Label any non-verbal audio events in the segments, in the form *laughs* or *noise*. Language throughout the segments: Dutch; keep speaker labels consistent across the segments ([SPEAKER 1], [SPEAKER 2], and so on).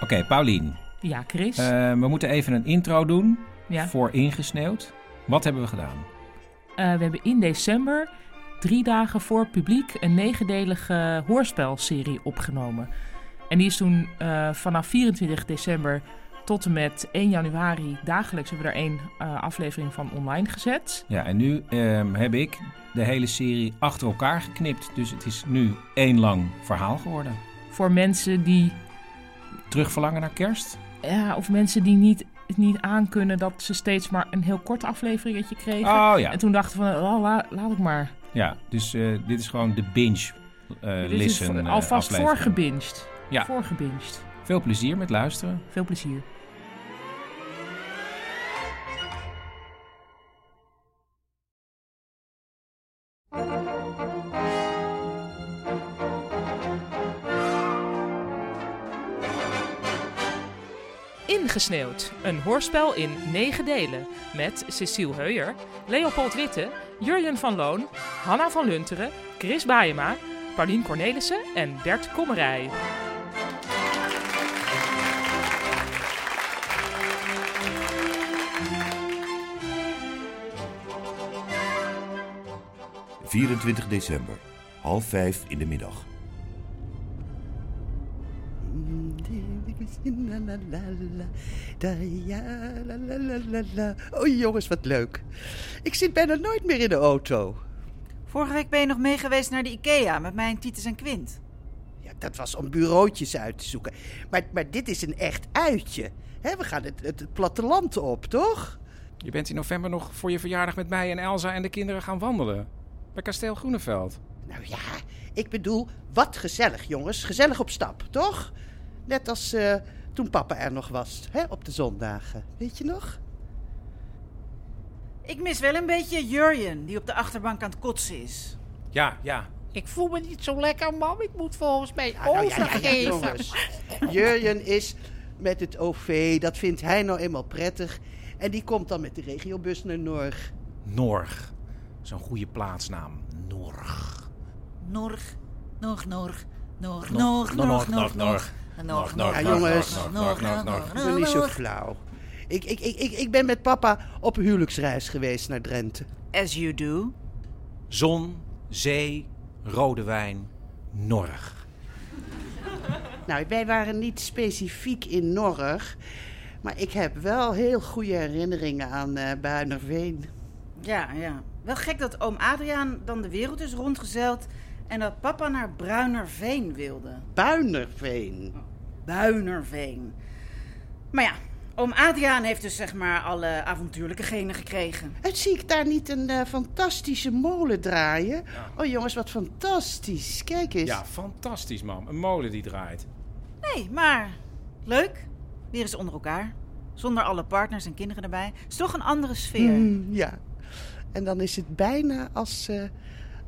[SPEAKER 1] Oké, Paulien.
[SPEAKER 2] Ja, Chris.
[SPEAKER 1] eh, we moeten even een intro doen
[SPEAKER 2] ja.
[SPEAKER 1] voor Ingesneeuwd. Wat hebben we gedaan?
[SPEAKER 2] Eh, we hebben in december, drie dagen voor het publiek, een negendelige hoorspelserie opgenomen. En die is toen eh, vanaf 24 december tot en met 1 januari dagelijks hebben we daar één eh, aflevering van online gezet.
[SPEAKER 1] Ja, en nu ehm, heb ik de hele serie achter elkaar geknipt. Dus het is nu één lang verhaal geworden.
[SPEAKER 2] Voor mensen die,
[SPEAKER 1] Terugverlangen naar kerst?
[SPEAKER 2] ja, of mensen die niet, het niet aankunnen dat ze steeds maar een heel kort afleveringetje kregen.
[SPEAKER 1] Oh ja.
[SPEAKER 2] En toen dachten we, oh, la- laat ik maar.
[SPEAKER 1] Ja, dus eh, dit is gewoon de binge eh
[SPEAKER 2] Dit is
[SPEAKER 1] listen eh,
[SPEAKER 2] alvast
[SPEAKER 1] aflevering.
[SPEAKER 2] voorgebinged.
[SPEAKER 1] Ja.
[SPEAKER 2] Voorgebinged.
[SPEAKER 1] Veel plezier met luisteren.
[SPEAKER 2] Veel plezier. Ingesneeuwd, een hoorspel in negen delen met Cecile Heuyer, Leopold Witte, Jurjen van Loon, Hanna van Lunteren, Chris Baayema, Paulien Cornelissen en Bert Kommerij.
[SPEAKER 3] Hm. 24 december, half vijf in de middag.
[SPEAKER 4] Oh jongens, wat leuk. Ik zit bijna nooit meer in de auto.
[SPEAKER 5] Vorige week ben je nog mee geweest naar de IKEA met mij en Titus en Quint.
[SPEAKER 4] Ja, dat was om bureautjes uit te zoeken. Maar, maar dit is een echt uitje. Hè, we gaan het, het platteland op, toch?
[SPEAKER 6] Je bent in november nog voor je verjaardag met mij en Elsa en de kinderen gaan wandelen. Bij Kasteel Groeneveld.
[SPEAKER 4] Nou ja, ik bedoel, wat gezellig jongens. Gezellig op stap, toch? Net als eh, toen papa er nog was, hè, op de zondagen. Weet je nog?
[SPEAKER 5] Ik mis wel een beetje Jurjen, die op de achterbank aan het kotsen is.
[SPEAKER 6] Ja, ja.
[SPEAKER 7] Ik voel me niet zo lekker, mam. Ik moet volgens mij
[SPEAKER 4] Nou, ja, ja, ja,
[SPEAKER 7] overgeven.
[SPEAKER 4] jongens. Jurjen is met het OV, dat vindt hij nou eenmaal prettig. En die komt dan met de regiobus naar Norg.
[SPEAKER 6] Norg. Zo'n goede plaatsnaam. Norg.
[SPEAKER 5] Norg, norg, norg,
[SPEAKER 6] Norg,
[SPEAKER 5] norg, norg, norg,
[SPEAKER 6] norg, norg,
[SPEAKER 5] norg, norg.
[SPEAKER 6] norg,
[SPEAKER 5] Norg,
[SPEAKER 6] norg,
[SPEAKER 4] Ja,
[SPEAKER 5] norg,
[SPEAKER 4] jongens.
[SPEAKER 5] norg,
[SPEAKER 6] norg, norg,
[SPEAKER 5] norg, norg,
[SPEAKER 6] norg.
[SPEAKER 4] Doe niet
[SPEAKER 5] norg,
[SPEAKER 4] zo
[SPEAKER 5] norg.
[SPEAKER 4] flauw. Ik, ik, ik, ik, ik ben met papa op huwelijksreis geweest naar Drenthe.
[SPEAKER 5] As you do.
[SPEAKER 6] Zon, zee, rode wijn, Norg.
[SPEAKER 4] Nou, wij waren niet specifiek in Norg. Maar ik heb wel heel goede herinneringen aan eh Buinerveen.
[SPEAKER 5] Ja, ja. Wel gek dat oom Adriaan dan de wereld is rondgezeild en dat papa naar Bruinerveen wilde.
[SPEAKER 4] Buinerveen.
[SPEAKER 5] Buinerveen. Maar ja, oom Adriaan heeft dus zeg maar alle avontuurlijke genen gekregen.
[SPEAKER 4] Het zie ik daar niet een eh, fantastische molen draaien? Oh jongens, wat fantastisch. Kijk eens.
[SPEAKER 6] Ja, fantastisch, man. Een molen die draait.
[SPEAKER 5] Nee, maar leuk. Weer eens onder elkaar. Zonder alle partners en kinderen erbij. Is toch een andere sfeer.
[SPEAKER 4] Mm, ja. En dan is het bijna als, eh,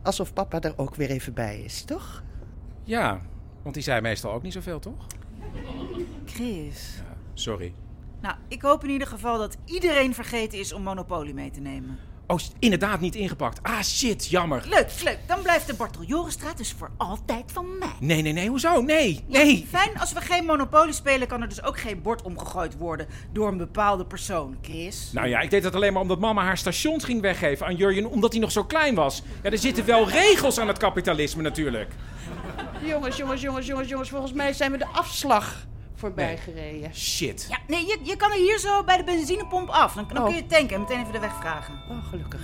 [SPEAKER 4] alsof papa er ook weer even bij is, toch?
[SPEAKER 6] Ja, want die zei meestal ook niet zoveel, toch?
[SPEAKER 5] Chris.
[SPEAKER 6] Sorry.
[SPEAKER 5] Nou, ik hoop in ieder geval dat iedereen vergeten is om Monopoly mee te nemen.
[SPEAKER 6] Oh, is inderdaad niet ingepakt. Ah, shit, jammer.
[SPEAKER 5] Leuk, leuk. Dan blijft de Bartoljorenstraat dus voor altijd van mij.
[SPEAKER 6] Nee, nee, nee, hoezo? Nee, nee.
[SPEAKER 5] Fijn, als we geen Monopoly spelen, kan er dus ook geen bord omgegooid worden door een bepaalde persoon, Chris.
[SPEAKER 6] Nou ja, ik deed dat alleen maar omdat mama haar stations ging weggeven aan Jurjen, omdat hij nog zo klein was. Ja, er zitten wel regels aan het kapitalisme natuurlijk.
[SPEAKER 4] Jongens, jongens, jongens, jongens, jongens. Volgens mij zijn we de afslag voorbij
[SPEAKER 6] Nee.
[SPEAKER 4] gereden.
[SPEAKER 6] Shit.
[SPEAKER 5] Ja, nee, je, je kan er hier zo bij de benzinepomp af. Dan, dan
[SPEAKER 4] Oh.
[SPEAKER 5] kun je tanken en meteen even de weg vragen.
[SPEAKER 4] Oh, gelukkig.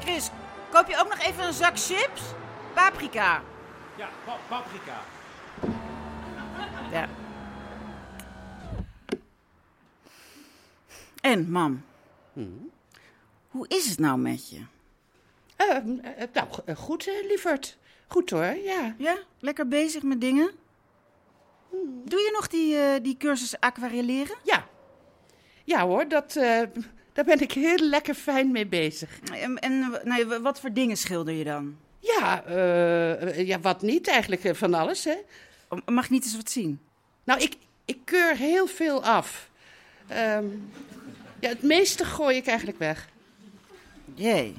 [SPEAKER 5] Chris, koop je ook nog even een zak chips? Paprika.
[SPEAKER 6] Ja, pa- paprika.
[SPEAKER 5] Ja. En, mam. Hoe is het nou met je?
[SPEAKER 4] nou, go- eh, goed, eh, lieverd. Goed hoor, ja.
[SPEAKER 5] Ja? Lekker bezig met dingen? Doe je nog die, eh, die cursus aquarelleren?
[SPEAKER 4] Ja. Ja hoor, dat, eh, daar ben ik heel lekker fijn mee bezig.
[SPEAKER 5] En, en nou, ja, wat voor dingen schilder je dan?
[SPEAKER 4] Ja, eh, ja wat niet eigenlijk, eh, van alles hè.
[SPEAKER 5] Mag ik niet eens wat zien?
[SPEAKER 4] Nou, ik, ik keur heel veel af. Ehm, ja, het meeste gooi ik eigenlijk weg.
[SPEAKER 5] Jee.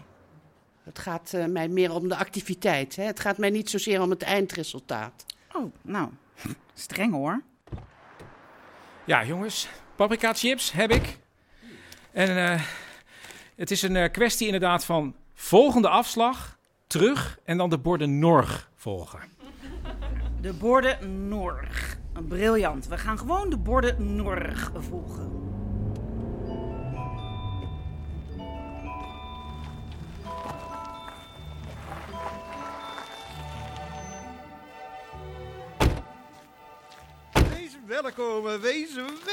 [SPEAKER 4] Het gaat eh, mij meer om de activiteit. Hè? Het gaat mij niet zozeer om het eindresultaat.
[SPEAKER 5] Oh, nou, *laughs* streng hoor.
[SPEAKER 6] Ja, jongens, paprika chips heb ik. En eh, het is een eh, kwestie inderdaad van volgende afslag, terug en dan de borden Norg volgen.
[SPEAKER 5] De borden Norg. Briljant. We gaan gewoon de borden Norg volgen.
[SPEAKER 8] Wees welkom, wees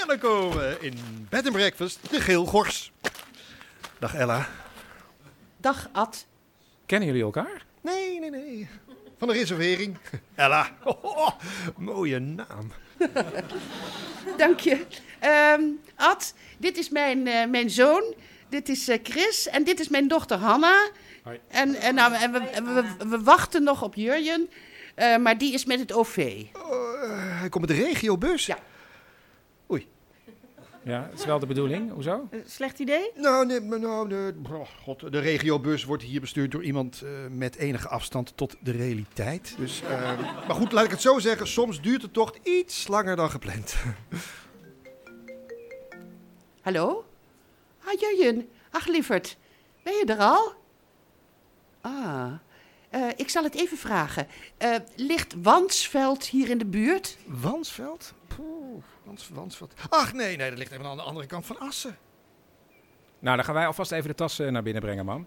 [SPEAKER 8] welkom in Bed and Breakfast, de Geel Gors. Dag Ella.
[SPEAKER 4] Dag Ad.
[SPEAKER 6] Kennen jullie elkaar?
[SPEAKER 8] Nee, nee, nee. Van de reservering. Ella. Oh, mooie naam.
[SPEAKER 4] Dank je. Ehm, Ad, dit is mijn, eh, mijn zoon. Dit is eh, Chris. En dit is mijn dochter Hanna.
[SPEAKER 6] Hoi.
[SPEAKER 4] En, en, nou, en we, en we, we wachten nog op Jurjen. eh, maar die is met het OV.
[SPEAKER 8] Eh, hij komt met de regiobus. Ja.
[SPEAKER 6] Ja, dat is wel de bedoeling. Hoezo?
[SPEAKER 5] Eh, Slecht idee?
[SPEAKER 8] Nou, nee, maar nou nee, bro, God, de regiobus wordt hier bestuurd door iemand eh, met enige afstand tot de realiteit. Dus, eh, maar goed, laat ik het zo zeggen. Soms duurt de tocht iets langer dan gepland.
[SPEAKER 4] Hallo? Ah, Jurjen. Ach, lieverd. Ben je er al? Ah, eh, ik zal het even vragen. Eh, ligt Wansveld hier in de buurt?
[SPEAKER 8] Wansveld? Poeh, Wans, Wansveld. Ach nee, nee, dat ligt even aan de andere kant van Assen.
[SPEAKER 6] Nou, dan gaan wij alvast even de tassen naar binnen brengen, mam.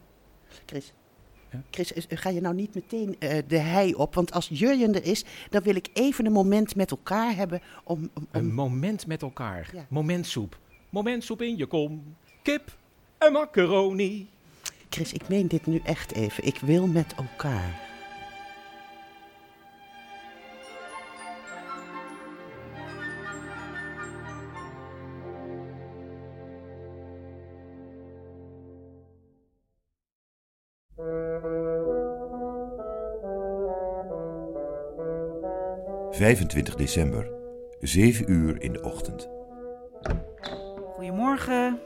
[SPEAKER 9] Chris. Chris, is- ga je nou niet meteen eh, de hei op? Want als Jurjen er is, dan wil ik even een moment met elkaar hebben om... om, om-
[SPEAKER 6] Een moment met elkaar.
[SPEAKER 9] Ja.
[SPEAKER 6] Momentsoep. Momentsoep in je kom. Kip en macaroni.
[SPEAKER 9] Chris, ik meen dit nu echt even. Ik wil met elkaar.
[SPEAKER 10] Hm. 25 december, 7 uur in de ochtend.
[SPEAKER 5] Goedemorgen.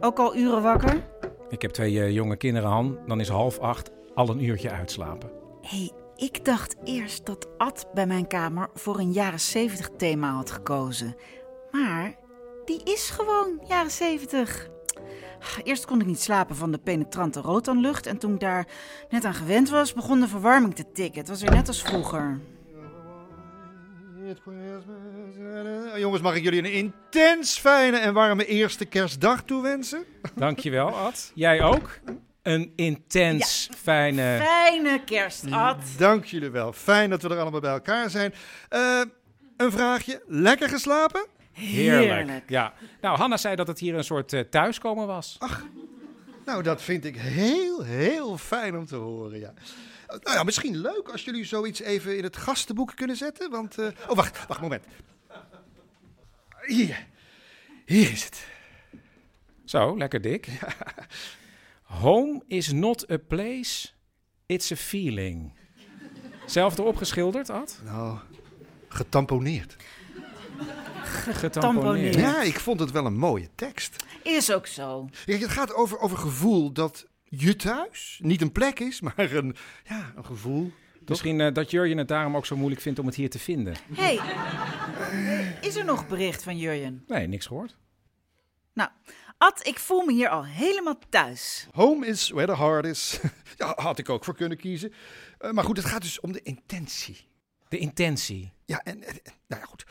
[SPEAKER 5] Ook al uren wakker?
[SPEAKER 6] Ik heb twee eh, jonge kinderen, Han. Dan is half acht al een uurtje uitslapen.
[SPEAKER 5] Hé, ik dacht eerst dat Ad bij mijn kamer voor een jaren 70 thema had gekozen. Maar die is gewoon jaren 70. Eerst kon ik niet slapen van de penetrante rotanlucht. En toen ik daar net aan gewend was, begon de verwarming te tikken. Het was weer net als vroeger.
[SPEAKER 8] Eh, Jongens, mag ik jullie een intens fijne en warme eerste kerstdag toewensen?
[SPEAKER 6] Dankjewel, Ad. Jij ook? Een intens fijne...
[SPEAKER 5] Fijne kerst, Ad.
[SPEAKER 8] Dank jullie wel. Fijn dat we er allemaal bij elkaar zijn. Eh, een vraagje. Lekker geslapen?
[SPEAKER 6] Ja. Nou, Hanna zei dat het hier een soort eh, thuiskomen was. Ach.
[SPEAKER 8] Nou, dat vind ik heel, heel fijn om te horen, ja. Eh, Nou ja, misschien leuk als jullie zoiets even in het gastenboek kunnen zetten, want... eh, Oh, wacht, wacht, moment. Hier. Hier is het.
[SPEAKER 6] Zo, lekker dik. Home is not a place, it's a feeling. Zelf erop geschilderd, Ad?
[SPEAKER 8] Nou, getamponeerd.
[SPEAKER 6] Getamponeerd.
[SPEAKER 8] Ja, ik vond het wel een mooie tekst.
[SPEAKER 5] Is ook zo.
[SPEAKER 8] Kijk, het gaat over, over gevoel dat je thuis niet een plek is, maar een, ja, een gevoel.
[SPEAKER 6] Misschien eh, dat Jurjen het daarom ook zo moeilijk vindt om het hier te vinden.
[SPEAKER 5] Hé, is er nog bericht van Jurjen?
[SPEAKER 6] Nee, niks gehoord.
[SPEAKER 5] Nou, Ad, ik voel me hier al helemaal thuis.
[SPEAKER 8] Home is where the heart is. ja, had ik ook voor kunnen kiezen. Eh, maar goed, het gaat dus om de intentie.
[SPEAKER 6] De intentie.
[SPEAKER 8] Ja, en, en- en- nou ja, goed.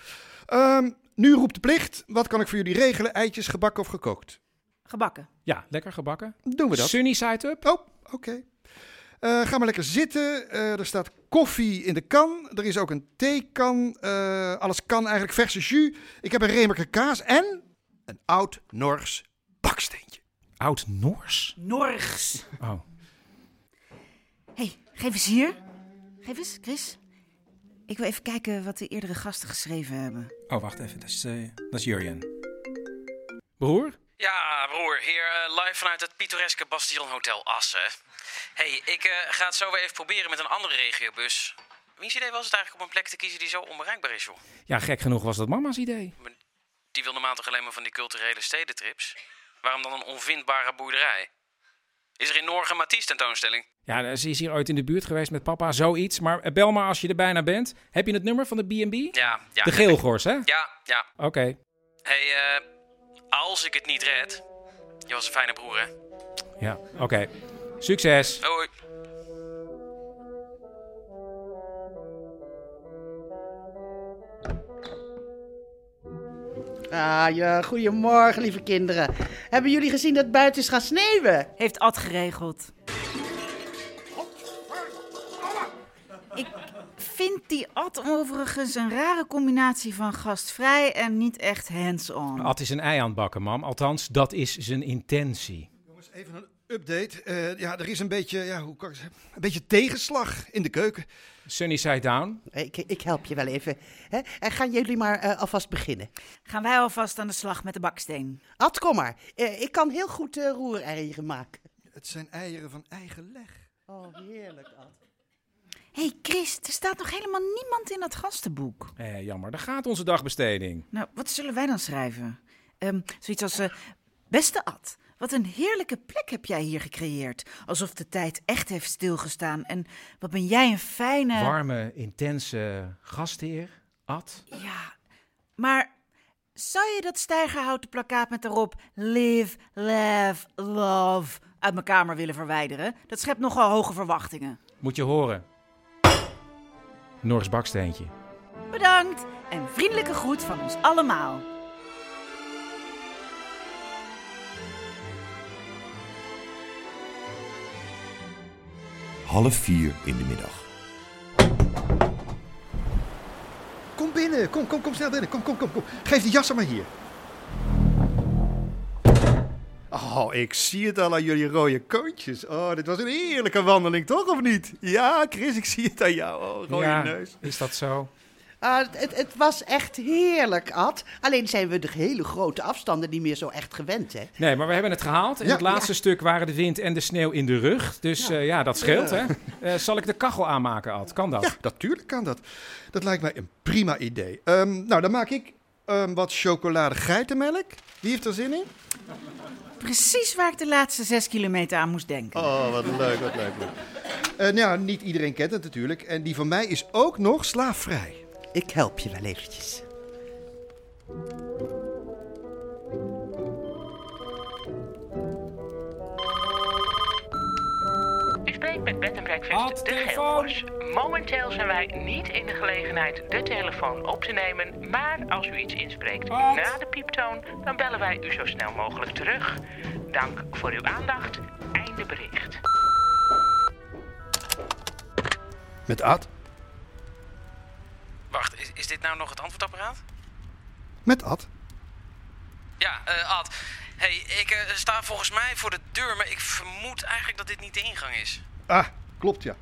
[SPEAKER 8] Ehm, nu roept de plicht. Wat kan ik voor jullie regelen? Eitjes, gebakken of gekookt?
[SPEAKER 5] Gebakken.
[SPEAKER 6] Ja, lekker gebakken.
[SPEAKER 8] Doen we dat.
[SPEAKER 6] Sunny side up.
[SPEAKER 8] Oh, Oké. Eh, ga maar lekker zitten. Eh, er staat koffie in de kan. Er is ook een theekan. Eh, alles kan eigenlijk. Verse jus. Ik heb een remerke kaas en een oud Nors baksteentje.
[SPEAKER 6] Oud Nors?
[SPEAKER 5] Norgs.
[SPEAKER 6] Oh.
[SPEAKER 5] hey, geef eens hier. Geef eens, Chris. Ik wil even kijken wat de eerdere gasten geschreven hebben.
[SPEAKER 11] Oh, wacht even. Dat is, eh dat is Jurjen.
[SPEAKER 6] Broer?
[SPEAKER 2] Ja, broer, hier eh, live vanuit het pittoreske Bastion Hotel Assen. hey, ik eh, ga het zo weer even proberen met een andere regiobus. Wiens idee was het eigenlijk om een plek te kiezen die zo onbereikbaar is, joh?
[SPEAKER 6] Ja, gek genoeg was dat mama's idee.
[SPEAKER 2] Maar Die wil normaal toch alleen maar van die culturele stedentrips? Waarom dan een onvindbare boerderij? Is er in Norge Matisse tentoonstelling?
[SPEAKER 6] Ja, ze is hier ooit in de buurt geweest met papa, zoiets. Maar eh, bel maar als je er bijna bent. Heb je het nummer van de B&B?
[SPEAKER 2] Ja, ja.
[SPEAKER 6] De Geelgors, hè?
[SPEAKER 2] Ja, ja.
[SPEAKER 6] Oké.
[SPEAKER 2] Hé, hey, eh, als ik het niet red... Je was een fijne broer, hè?
[SPEAKER 6] Ja, oké. Succes.
[SPEAKER 2] Hoi.
[SPEAKER 4] Ah, ja, goedemorgen, lieve kinderen. Hebben jullie gezien dat het buiten is gaan sneeuwen?
[SPEAKER 5] Heeft Ad geregeld. Ik vind die Ad overigens een rare combinatie van gastvrij en niet echt hands-on.
[SPEAKER 6] Ad is een ei aan het bakken, mam. Althans, dat is zijn intentie.
[SPEAKER 8] Even een update. Eh, ja, er is een beetje, ja, hoe kan ik het zeggen? Een beetje tegenslag in de keuken.
[SPEAKER 6] Sunny side down.
[SPEAKER 4] Ik, ik help je wel even. Hè? En gaan jullie maar eh, alvast beginnen.
[SPEAKER 5] Gaan wij alvast aan de slag met de baksteen.
[SPEAKER 4] Ad, kom maar. Eh, ik kan heel goed eh roereieren maken.
[SPEAKER 8] Het zijn eieren van eigen leg.
[SPEAKER 4] Oh, heerlijk, Ad.
[SPEAKER 5] Hé hey Chris, er staat nog helemaal niemand in dat gastenboek.
[SPEAKER 6] Eh, jammer, daar gaat onze dagbesteding.
[SPEAKER 5] Nou, wat zullen wij dan schrijven? Ehm, zoiets als, eh, beste Ad, wat een heerlijke plek heb jij hier gecreëerd. Alsof de tijd echt heeft stilgestaan. En wat ben jij een fijne...
[SPEAKER 6] Warme, intense gastheer, Ad.
[SPEAKER 5] Ja, maar zou je dat stijgerhouten plakkaat met erop Live, Laugh, Love uit mijn kamer willen verwijderen? Dat schept nogal hoge verwachtingen.
[SPEAKER 6] Moet je horen. Norris Baksteentje.
[SPEAKER 5] Bedankt en vriendelijke groet van ons allemaal.
[SPEAKER 10] Half vier in de middag.
[SPEAKER 8] Kom binnen, kom, kom, kom snel binnen. Kom, kom, kom, kom. Geef die jas aan maar hier. Oh, ik zie het al aan jullie rode koontjes. Oh, dit was een heerlijke wandeling, toch? Of niet? Ja, Chris, ik zie het aan jou. Oh, rode
[SPEAKER 6] Ja,
[SPEAKER 8] neus.
[SPEAKER 6] Is dat zo?
[SPEAKER 4] Ah, het- het, het was echt heerlijk, Ad. Alleen zijn we de hele grote afstanden niet meer zo echt gewend, hè?
[SPEAKER 6] Nee, maar we hebben het gehaald. In
[SPEAKER 4] Ja.
[SPEAKER 6] het laatste stuk waren de wind en de sneeuw in de rug. Dus ja, ja dat scheelt,
[SPEAKER 8] Ja.
[SPEAKER 6] hè? Eh, zal ik de kachel aanmaken, Ad? Kan dat?
[SPEAKER 8] Ja, natuurlijk kan dat. Dat lijkt mij een prima idee. Ehm, nou, dan maak ik ehm, wat chocolade geitenmelk. Wie heeft er zin in?
[SPEAKER 5] Precies waar ik de laatste zes kilometer aan moest denken.
[SPEAKER 8] Oh, wat leuk, wat leuk. leuk. Eh, nou, ja, niet iedereen kent het natuurlijk. En die van mij is ook nog slaafvrij.
[SPEAKER 4] Ik help je wel eventjes.
[SPEAKER 12] U spreekt met Bed Breakfast de Geelgors. Dus Momenteel zijn wij niet in de gelegenheid de telefoon op te nemen, maar als u iets inspreekt na de pieptoon, dan bellen wij u zo snel mogelijk terug. Dank voor uw aandacht. Einde bericht.
[SPEAKER 8] Met Ad?
[SPEAKER 2] Wacht, is, is dit nou nog het antwoordapparaat?
[SPEAKER 8] Met Ad?
[SPEAKER 2] Ja, eh, Ad. hey, ik eh, sta volgens mij voor de deur, maar ik vermoed eigenlijk dat dit niet de ingang is.
[SPEAKER 8] Ah, klopt ja.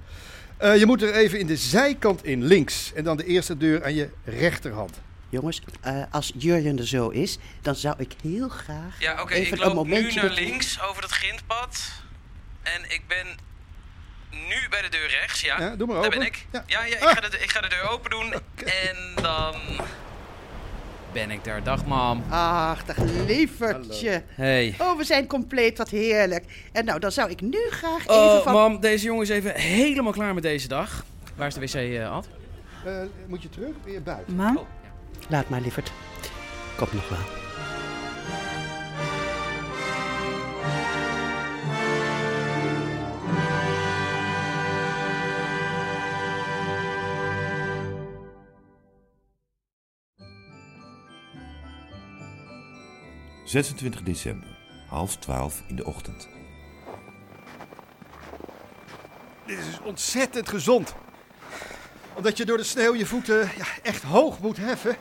[SPEAKER 8] Eh, je moet er even in de zijkant in, links. En dan de eerste deur aan je rechterhand.
[SPEAKER 4] Jongens, eh, als Jurjen er zo is, dan zou ik heel graag
[SPEAKER 2] Ja, oké,
[SPEAKER 4] even
[SPEAKER 2] ik loop
[SPEAKER 4] een momentje...
[SPEAKER 2] nu naar
[SPEAKER 4] dat-
[SPEAKER 2] links over dat grindpad. En ik ben nu bij de deur rechts, ja.
[SPEAKER 8] Ja, Ah. doe maar
[SPEAKER 2] Daar
[SPEAKER 8] open.
[SPEAKER 2] ben ik. Ja, ja, ik, ga de, ik ga de deur open
[SPEAKER 8] *laughs*
[SPEAKER 2] doen. En dan... Ben ik daar. Dag, mam.
[SPEAKER 4] Ach, dag lievertje.
[SPEAKER 2] Hey.
[SPEAKER 4] Oh, we zijn compleet, wat heerlijk. En nou, dan zou ik nu graag even
[SPEAKER 2] Oh,
[SPEAKER 4] van...
[SPEAKER 2] mam, deze jongen is even helemaal klaar met deze dag. Waar is de wc, eh, Ad?
[SPEAKER 8] Eh, moet je terug? Weer buiten.
[SPEAKER 5] Mam?
[SPEAKER 4] Laat maar, lieverd. Komt nog wel.
[SPEAKER 10] Oh. 26 december. Half twaalf in de ochtend.
[SPEAKER 8] Dit is ontzettend gezond. Omdat je door de sneeuw je voeten ja, echt hoog moet heffen,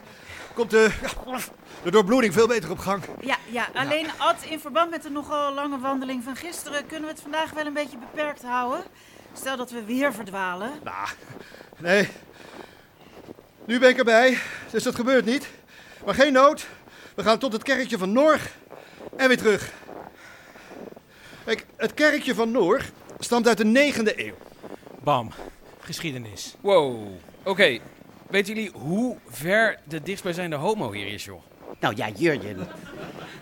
[SPEAKER 8] komt de, ja, de doorbloeding veel beter op gang.
[SPEAKER 5] Ja, ja, alleen Ad, in verband met de nogal lange wandeling van gisteren kunnen we het vandaag wel een beetje beperkt houden. Stel dat we weer verdwalen.
[SPEAKER 8] Nou, nee. Nu ben ik erbij, dus dat gebeurt niet. Maar geen nood. We gaan tot het kerkje van Noorg en weer terug. Kijk, het kerkje van Noorg stamt uit de 9e eeuw.
[SPEAKER 6] Bam, geschiedenis.
[SPEAKER 13] Wow. Oké, weten jullie hoe ver de dichtstbijzijnde homo hier is, joh?
[SPEAKER 4] Nou ja, Jurjen.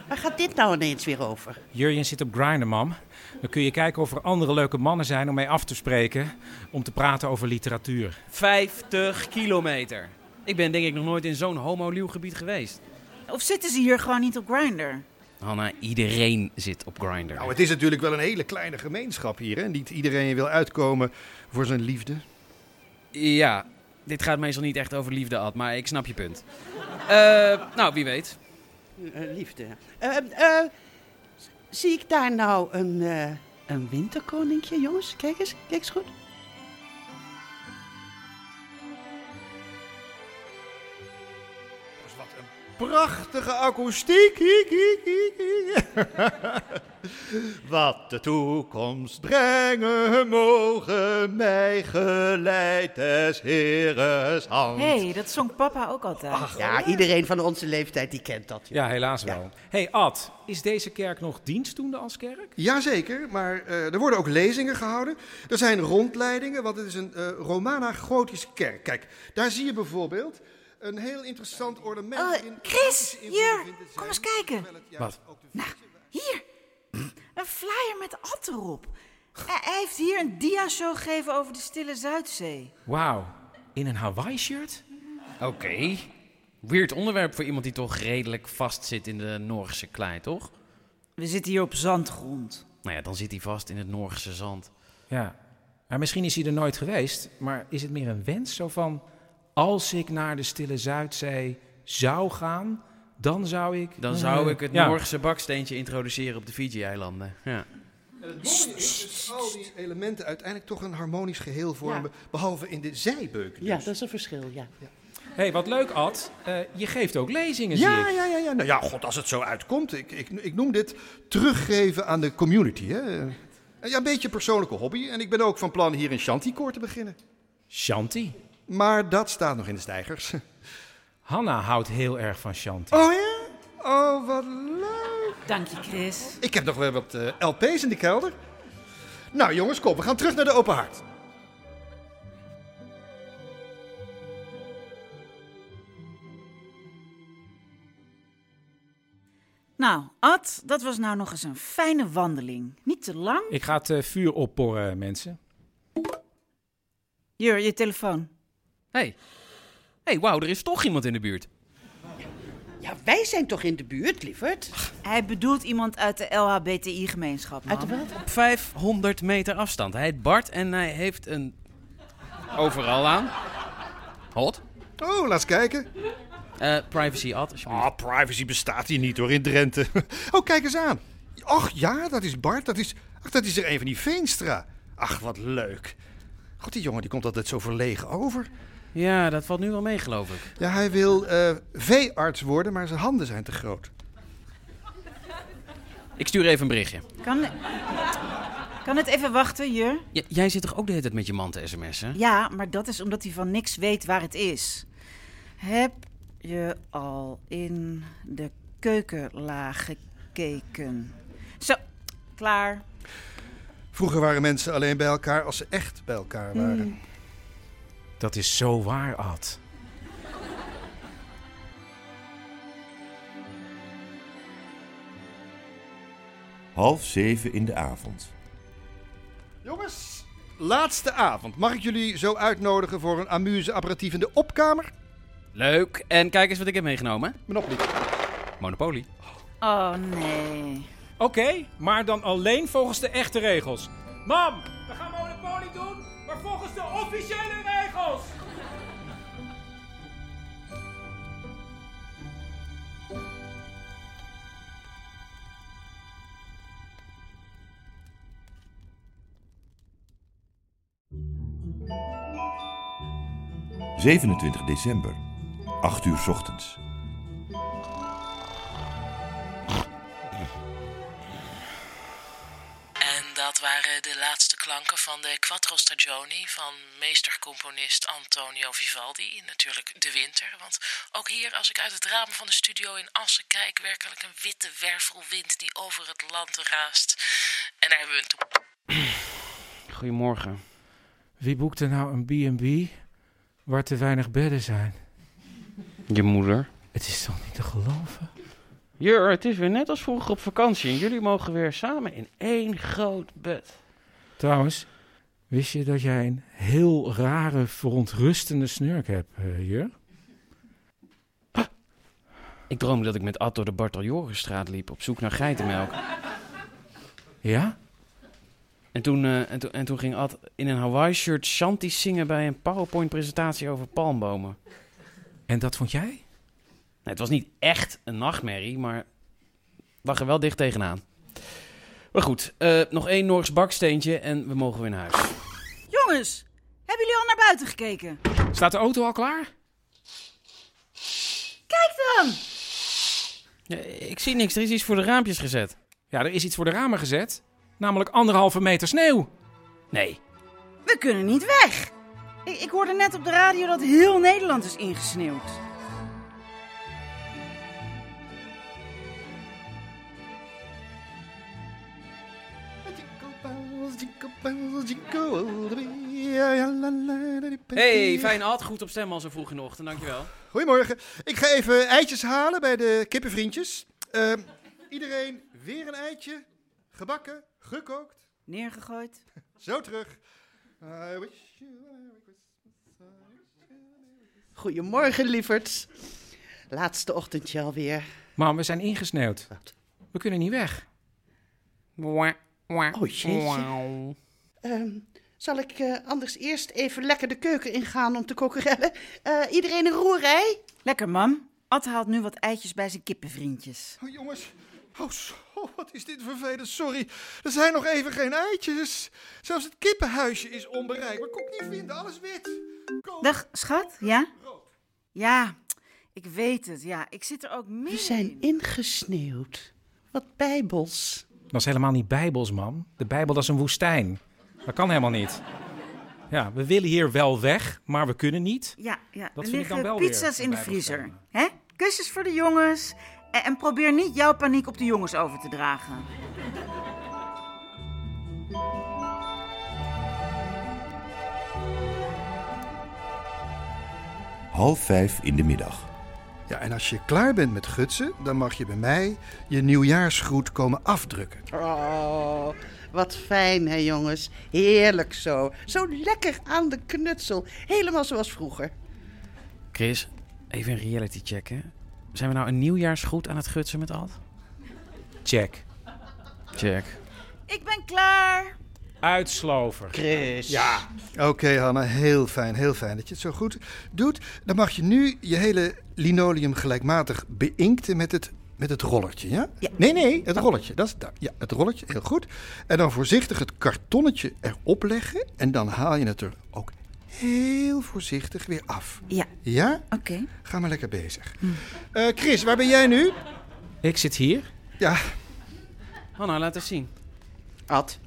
[SPEAKER 4] Waar gaat dit nou ineens weer over?
[SPEAKER 6] Jurjen zit op Grindr, mam. Dan kun je kijken of er andere leuke mannen zijn om mee af te spreken. Om te praten over literatuur.
[SPEAKER 13] 50 kilometer. Ik ben denk ik nog nooit in zo'n homo gebied geweest.
[SPEAKER 5] Of zitten ze hier gewoon niet op Grindr?
[SPEAKER 13] Hanna, iedereen zit op Grindr.
[SPEAKER 8] Nou, het is natuurlijk wel een hele kleine gemeenschap hier. Hè? Niet iedereen wil uitkomen voor zijn liefde.
[SPEAKER 13] Ja, dit gaat meestal niet echt over liefde, Ad, maar ik snap je punt. Eh, nou, wie weet.
[SPEAKER 4] Eh, liefde. Eh, eh, zie ik daar nou een, eh, een winterkoninkje, jongens? Kijk eens, kijk eens goed.
[SPEAKER 8] Prachtige akoestiek. Hiek, hiek, hiek, hiek.
[SPEAKER 14] Wat de toekomst brengen mogen, mij geleid des Heeres hand.
[SPEAKER 5] hey, dat zong papa ook altijd.
[SPEAKER 4] Ja, iedereen van onze leeftijd die kent dat. joh.
[SPEAKER 6] Ja, helaas wel. hey, Ad, is deze kerk nog dienstdoende als kerk?
[SPEAKER 8] Jazeker, maar eh, er worden ook lezingen gehouden. Er zijn rondleidingen, want het is een eh, Romana-gotische kerk. Kijk, daar zie je bijvoorbeeld een heel interessant ornament. in...
[SPEAKER 5] Oh, Chris, hier, kom eens kijken. Nou,
[SPEAKER 8] Wat?
[SPEAKER 5] Hier, een flyer met Ad erop. Hij hij heeft hier een dia-show gegeven over de stille Zuidzee.
[SPEAKER 6] Wauw, in een Hawaii-shirt?
[SPEAKER 13] Oké. Weird onderwerp voor iemand die toch redelijk vast zit in de Noorse klei, toch?
[SPEAKER 5] We zitten hier op zandgrond.
[SPEAKER 13] Nou ja, dan zit hij vast in het Noorse zand.
[SPEAKER 6] Ja. Maar misschien is hij er nooit geweest, maar is het meer een wens zo van... als ik naar de stille Zuidzee zou gaan, dan zou ik... Eh,
[SPEAKER 13] Dan zou ik het
[SPEAKER 6] Ja.
[SPEAKER 13] Noorse baksteentje introduceren op de Fiji-eilanden. Ja.
[SPEAKER 8] En het mooie is dus al die elementen uiteindelijk toch een harmonisch geheel vormen, behalve in de zijbeuken.
[SPEAKER 4] Ja, dat is een verschil, ja.
[SPEAKER 6] hey, wat leuk, Ad. Eh, je geeft ook lezingen, zie
[SPEAKER 8] Ja,
[SPEAKER 6] ik.
[SPEAKER 8] ja, ja, ja. Nou ja, god, als het zo uitkomt. Ik, ik, ik noem dit teruggeven aan de community. Hè? Eh, Ja, een beetje een persoonlijke hobby. En ik ben ook van plan hier in Shantykoor te beginnen.
[SPEAKER 6] Shanti?
[SPEAKER 8] Maar dat staat nog in de stijgers.
[SPEAKER 6] Hanna houdt heel erg van Shanti.
[SPEAKER 8] Oh ja? Oh, wat leuk.
[SPEAKER 5] Dank je, Chris.
[SPEAKER 8] Ik heb nog wel wat eh, LP's in de kelder. Nou jongens, kom, we gaan terug naar de open haard.
[SPEAKER 5] Nou, Ad, dat was nou nog eens een fijne wandeling. Niet te lang.
[SPEAKER 6] Ik ga het eh, vuur opporren, mensen.
[SPEAKER 5] Jur, je telefoon.
[SPEAKER 13] hey. hey, wauw, er is toch iemand in de buurt.
[SPEAKER 4] Ja, wij zijn toch in de buurt, lieverd?
[SPEAKER 5] Hij bedoelt iemand uit de LHBTI-gemeenschap, man.
[SPEAKER 4] Uit de wat?
[SPEAKER 13] Op 500 meter afstand. Hij heet Bart en hij heeft een overal aan. Hot.
[SPEAKER 8] Oh, laat eens kijken.
[SPEAKER 13] privacy ad,
[SPEAKER 8] Ah, privacy bestaat hier niet hoor, in Drenthe. Oh, kijk eens aan. Och ja, dat is Bart, dat is, ach, dat is er een van die Veenstra. Ach, wat leuk. God, die jongen die komt altijd zo verlegen over.
[SPEAKER 13] Ja, dat valt nu wel mee, geloof ik.
[SPEAKER 8] Ja, hij wil eh, veearts worden, maar zijn handen zijn te groot.
[SPEAKER 13] Ik stuur even een berichtje.
[SPEAKER 5] Kan, kan het even wachten, Jur?
[SPEAKER 13] J- jij zit toch ook de hele tijd met je man te sms'en?
[SPEAKER 5] Ja, maar dat is omdat hij van niks weet waar het is. Heb je al in de keukenlaag gekeken? Zo, klaar.
[SPEAKER 8] Vroeger waren mensen alleen bij elkaar als ze echt bij elkaar waren.
[SPEAKER 6] Dat is zo waar, Ad.
[SPEAKER 10] Half zeven in de avond.
[SPEAKER 8] Jongens, laatste avond. Mag ik jullie zo uitnodigen voor een amuse-aperitief in de opkamer?
[SPEAKER 13] Leuk. En kijk eens wat ik heb meegenomen.
[SPEAKER 8] Monopoly.
[SPEAKER 13] Monopoly.
[SPEAKER 5] Oh nee.
[SPEAKER 1] Oké, maar dan alleen volgens de echte regels. Mam, we gaan Monopoly doen, maar volgens de officiële regels.
[SPEAKER 10] 27 december, 8 uur 's ochtends.
[SPEAKER 15] En dat waren de laatste klanken van de Quattro Stagioni van meestercomponist Antonio Vivaldi. Natuurlijk de winter, want ook hier, als ik uit het raam van de studio in Assen kijk, werkelijk een witte wervelwind die over het land raast. En daar hebben we een to-
[SPEAKER 2] Goedemorgen.
[SPEAKER 6] Wie boekt er nou een B&B waar te weinig bedden zijn?
[SPEAKER 2] Je moeder.
[SPEAKER 6] Het is toch niet te geloven?
[SPEAKER 2] Jur, het is weer net als vroeger op vakantie en jullie mogen weer samen in één groot bed.
[SPEAKER 6] Trouwens, wist je dat jij een heel rare, verontrustende snurk hebt, eh, Jur?
[SPEAKER 2] Ik droomde dat ik met Ad door de Bartoljorenstraat liep op zoek naar geitenmelk.
[SPEAKER 6] Ja?
[SPEAKER 2] En toen, eh, en, toen, en toen ging Ad in een Hawaii-shirt shanty zingen bij een PowerPoint-presentatie over palmbomen.
[SPEAKER 6] En dat vond jij?
[SPEAKER 2] Nee, het was niet echt een nachtmerrie, maar lag er wel dicht tegenaan. Maar goed, eh, nog één Norgs baksteentje en we mogen weer naar huis.
[SPEAKER 5] Jongens, hebben jullie al naar buiten gekeken?
[SPEAKER 6] Staat de auto al klaar?
[SPEAKER 5] Kijk dan!
[SPEAKER 2] Ja, ik zie niks, er is iets voor de raampjes gezet.
[SPEAKER 6] Ja, er is iets voor de ramen gezet. Namelijk anderhalve meter sneeuw.
[SPEAKER 2] Nee.
[SPEAKER 5] We kunnen niet weg. Ik, ik hoorde net op de radio dat heel Nederland is ingesneeuwd.
[SPEAKER 2] Hey, fijn Ad, goed op stem al zo vroeg in de ochtend, dankjewel.
[SPEAKER 8] Goedemorgen. Ik ga even eitjes halen bij de kippenvriendjes. Ehm, iedereen weer een eitje. Gebakken, gekookt.
[SPEAKER 5] Neergegooid.
[SPEAKER 8] Zo terug. I wish you a Merry
[SPEAKER 4] Goedemorgen, lieverds. Laatste ochtendje alweer.
[SPEAKER 6] Mam, we zijn ingesneeuwd. We kunnen niet weg.
[SPEAKER 4] Oh, jeetje. Ehm, zal ik eh, anders eerst even lekker de keuken ingaan om te kokerellen? Eh, iedereen een roerij?
[SPEAKER 5] Lekker, mam. Ad haalt nu wat eitjes bij zijn kippenvriendjes.
[SPEAKER 8] Oh, jongens. Oh, zo, wat is dit vervelend. Sorry. Er zijn nog even geen eitjes. Zelfs het kippenhuisje is onbereikbaar. Kon ik niet vinden. Alles wit.
[SPEAKER 5] Dag, schat. Ja? Ja, ik weet het. Ja, ik zit er ook midden
[SPEAKER 4] We zijn ingesneeuwd. Wat bijbels.
[SPEAKER 6] Dat is helemaal niet bijbels, mam. De Bijbel dat is een woestijn. Dat kan helemaal niet. Ja, we willen hier wel weg, maar we kunnen niet.
[SPEAKER 5] Ja, ja.
[SPEAKER 6] Dat vind
[SPEAKER 5] er
[SPEAKER 6] ik dan
[SPEAKER 5] liggen
[SPEAKER 6] wel weer
[SPEAKER 5] pizza's
[SPEAKER 6] een
[SPEAKER 5] in de
[SPEAKER 6] Bijbelstijl.
[SPEAKER 5] vriezer. Hè? Kusjes voor de jongens. En, en probeer niet jouw paniek op de jongens over te dragen.
[SPEAKER 10] Half vijf in de middag.
[SPEAKER 8] Ja, en als je klaar bent met gutsen, dan mag je bij mij je nieuwjaarsgroet komen afdrukken.
[SPEAKER 4] Oh, wat fijn, hè, jongens. Heerlijk zo. Zo lekker aan de knutsel. Helemaal zoals vroeger.
[SPEAKER 2] Chris, even een reality check, hè. Zijn we nou een nieuwjaarsgroet aan het gutsen met Ad?
[SPEAKER 6] Check.
[SPEAKER 2] Check.
[SPEAKER 5] Ik ben klaar.
[SPEAKER 6] Uitslover.
[SPEAKER 4] Chris.
[SPEAKER 6] Ja.
[SPEAKER 8] Oké, Hanna, heel fijn, heel fijn dat je het zo goed doet. Dan mag je nu je hele linoleum gelijkmatig beïnkten met het, met het rollertje, ja? Nee, nee, het rolletje, dat is daar. Ja, het rolletje, heel goed. En dan voorzichtig het kartonnetje erop leggen en dan haal je het er ook heel voorzichtig weer af.
[SPEAKER 5] Ja.
[SPEAKER 8] Ja?
[SPEAKER 5] Oké.
[SPEAKER 8] Ga maar lekker bezig. Eh, Chris, waar ben jij nu?
[SPEAKER 6] Ik zit hier.
[SPEAKER 8] Ja,
[SPEAKER 2] Hanna, laat eens zien.
[SPEAKER 4] Ad,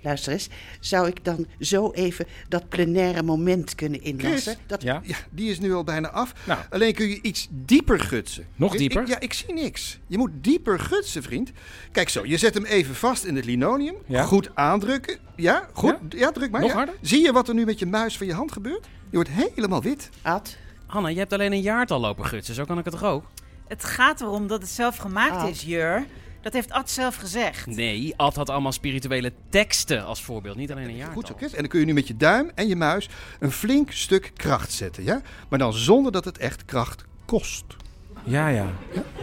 [SPEAKER 4] luister eens. Zou ik dan zo even dat plenaire moment kunnen inlassen?
[SPEAKER 8] Chris?
[SPEAKER 4] Dat...
[SPEAKER 8] Ja, die is nu al bijna af. Alleen kun je iets dieper gutsen.
[SPEAKER 6] Nog
[SPEAKER 8] Ik-
[SPEAKER 6] dieper?
[SPEAKER 8] ik- ja, ik zie niks. Je moet dieper gutsen, vriend. Kijk zo, je zet hem even vast in het linoleum.
[SPEAKER 6] Ja.
[SPEAKER 8] Goed aandrukken. Ja, goed. Ja, druk maar.
[SPEAKER 2] Nog
[SPEAKER 8] ja.
[SPEAKER 2] harder?
[SPEAKER 8] Zie je wat er nu met je muis van je hand gebeurt? Je wordt helemaal wit.
[SPEAKER 4] Ad?
[SPEAKER 2] Hanna, je hebt alleen een jaartal lopen gutsen, zo kan ik het toch ook?
[SPEAKER 5] Het gaat erom dat het zelf gemaakt
[SPEAKER 4] Oh.
[SPEAKER 5] is, Jur. Dat heeft Ad zelf gezegd.
[SPEAKER 2] Nee, Ad had allemaal spirituele teksten als voorbeeld, niet alleen een jaartal.
[SPEAKER 8] Goed zo, Chris. En dan kun je nu met je duim en je muis een flink stuk kracht zetten. Ja? Maar dan zonder dat het echt kracht kost.
[SPEAKER 6] Ja, ja.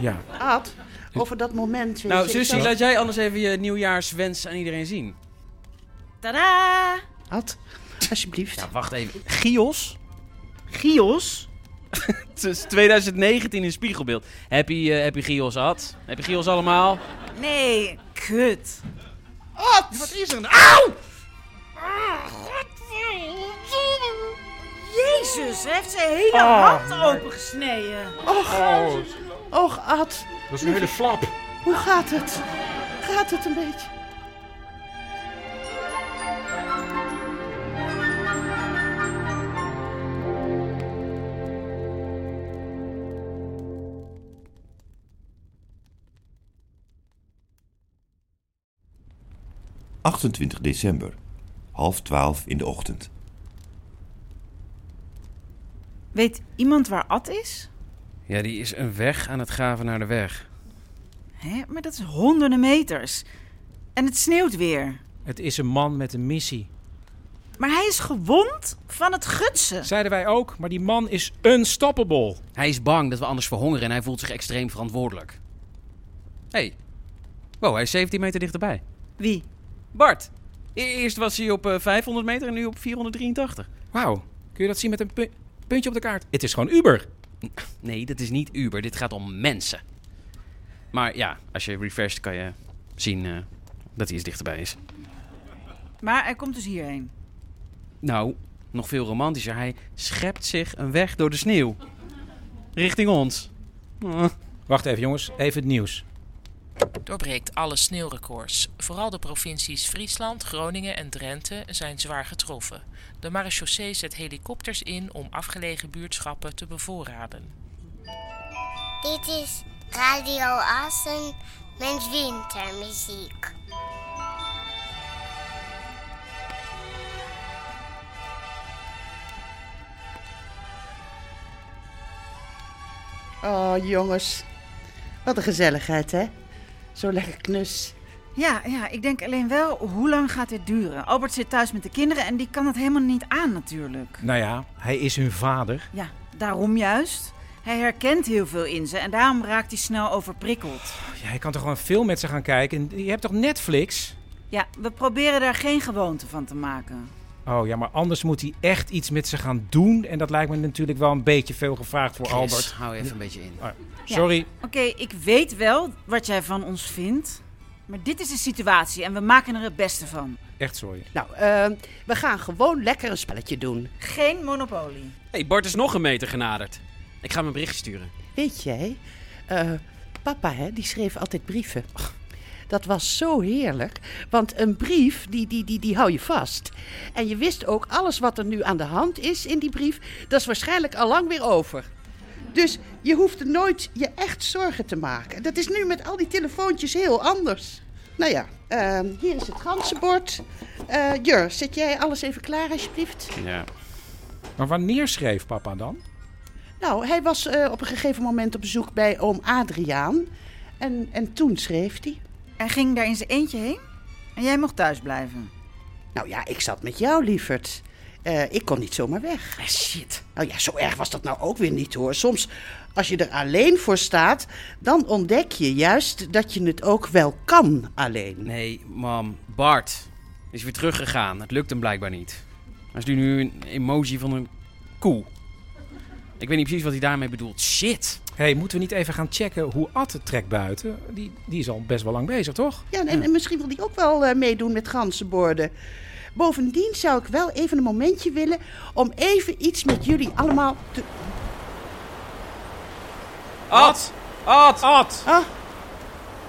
[SPEAKER 6] ja.
[SPEAKER 4] Ad, over dat moment... weet
[SPEAKER 2] Nou,
[SPEAKER 4] je, ik
[SPEAKER 2] Susie,
[SPEAKER 4] zou-
[SPEAKER 2] laat jij anders even je nieuwjaarswens aan iedereen zien.
[SPEAKER 5] Tadaa!
[SPEAKER 4] Ad, alsjeblieft.
[SPEAKER 2] Ja, wacht even. Gios?
[SPEAKER 5] Gios?
[SPEAKER 2] *laughs* Het is 2019 in spiegelbeeld. Happy, eh, happy Gios, Ad. Happy Gios allemaal.
[SPEAKER 5] Nee, kut. nou? Ah,
[SPEAKER 8] Wat? Wat is er? Auw!
[SPEAKER 16] Godverdomme.
[SPEAKER 5] Jezus, hij heeft zijn hele
[SPEAKER 6] Oh,
[SPEAKER 5] hand
[SPEAKER 6] maar-
[SPEAKER 5] opengesneden.
[SPEAKER 4] Och, och, Ad.
[SPEAKER 6] Dat is een hele flap.
[SPEAKER 4] Hoe gaat het? Gaat het een beetje?
[SPEAKER 10] dag. 28 december, half twaalf in de ochtend.
[SPEAKER 5] Weet iemand waar Ad is?
[SPEAKER 13] Ja, die is een weg aan het graven naar de weg.
[SPEAKER 5] Hè, maar dat is honderden meters. En het sneeuwt weer.
[SPEAKER 6] Het is een man met een missie.
[SPEAKER 5] Maar hij is gewond van het gutsen.
[SPEAKER 6] Zeiden wij ook, maar die man is unstoppable.
[SPEAKER 13] Hij is bang dat we anders verhongeren en hij voelt zich extreem verantwoordelijk. Hé. Hey. Wow, hij is 17 meter dichterbij.
[SPEAKER 5] Wie?
[SPEAKER 13] Bart. E- Eerst was hij op eh, 500 meter en nu op 483. Wauw. Kun je dat zien met een puntje op de kaart? Het is gewoon Uber. Nee, dat is niet Uber. Dit gaat om mensen. Maar ja, als je refresht kan je zien eh, dat hij eens dichterbij is.
[SPEAKER 5] Maar hij komt dus hierheen.
[SPEAKER 13] Nou, nog veel romantischer. Hij schept zich een weg door de sneeuw. Richting ons. Eh.
[SPEAKER 6] Wacht even jongens, even het nieuws.
[SPEAKER 15] doorbreekt alle sneeuwrecords. Vooral de provincies Friesland, Groningen en Drenthe zijn zwaar getroffen. De marechaussee zet helikopters in om afgelegen buurtschappen te bevoorraden.
[SPEAKER 17] Dit is Radio Assen met wintermuziek.
[SPEAKER 4] Oh, jongens. Wat een gezelligheid, hè? Zo lekker knus.
[SPEAKER 5] Ja, ja, ik denk alleen wel, hoe lang gaat dit duren? Albert zit thuis met de kinderen en die kan het helemaal niet aan natuurlijk.
[SPEAKER 6] Nou ja, hij is hun vader.
[SPEAKER 5] Ja, daarom juist. Hij herkent heel veel in ze en daarom raakt hij snel overprikkeld.
[SPEAKER 6] Ja, hij kan toch gewoon veel met ze gaan kijken. En Je hebt toch Netflix?
[SPEAKER 5] Ja, we proberen daar geen gewoonte van te maken.
[SPEAKER 6] Oh ja, maar anders moet hij echt iets met ze gaan doen. En dat lijkt me natuurlijk wel een beetje veel gevraagd voor
[SPEAKER 13] Chris,
[SPEAKER 6] Albert.
[SPEAKER 13] hou even een beetje in.
[SPEAKER 6] Oh, sorry.
[SPEAKER 5] Ja, Oké, ik weet wel wat jij van ons vindt. Maar dit is de situatie en we maken er het beste van.
[SPEAKER 6] Echt sorry.
[SPEAKER 4] Nou, eh, we gaan gewoon lekker een spelletje doen.
[SPEAKER 5] Geen monopolie.
[SPEAKER 13] hey, Bart is nog een meter genaderd. Ik ga hem een berichtje sturen.
[SPEAKER 4] Weet jij, eh, papa hè, die schreef altijd brieven. Dat was zo heerlijk, want een brief, die, die, die, die hou je vast. En je wist ook, alles wat er nu aan de hand is in die brief, dat is waarschijnlijk al lang weer over. Dus je hoeft er nooit je echt zorgen te maken. Dat is nu met al die telefoontjes heel anders. Nou ja, eh, hier is het ganzenbord. Eh Jur, zet jij alles even klaar alsjeblieft?
[SPEAKER 6] Ja. Maar wanneer schreef papa dan?
[SPEAKER 4] Nou, hij was eh, op een gegeven moment op bezoek bij oom Adriaan. En, en toen schreef hij.
[SPEAKER 5] En ging daar in zijn eentje heen? En jij mocht thuis blijven?
[SPEAKER 4] Nou ja, ik zat met jou, lieverd. Eh, ik kon niet zomaar weg.
[SPEAKER 13] Ah, shit.
[SPEAKER 4] Nou ja, zo erg was dat nou ook weer niet hoor. Soms, als je er alleen voor staat, dan ontdek je juist dat je het ook wel kan alleen.
[SPEAKER 13] Nee, mam. Bart is weer teruggegaan. Het lukt hem blijkbaar niet. Hij stuurt nu een emoji van een koe. Ik weet niet precies wat hij daarmee bedoelt. Shit.
[SPEAKER 6] Hé, hey, moeten we niet even gaan checken hoe Ad het trekt buiten? Die, die is al best wel lang bezig, toch?
[SPEAKER 4] Ja, en, en misschien wil die ook wel eh, meedoen met ganzenborden. Bovendien zou ik wel even een momentje willen om even iets met jullie allemaal te...
[SPEAKER 13] Ad! Ad!
[SPEAKER 6] Ad!
[SPEAKER 4] Ah.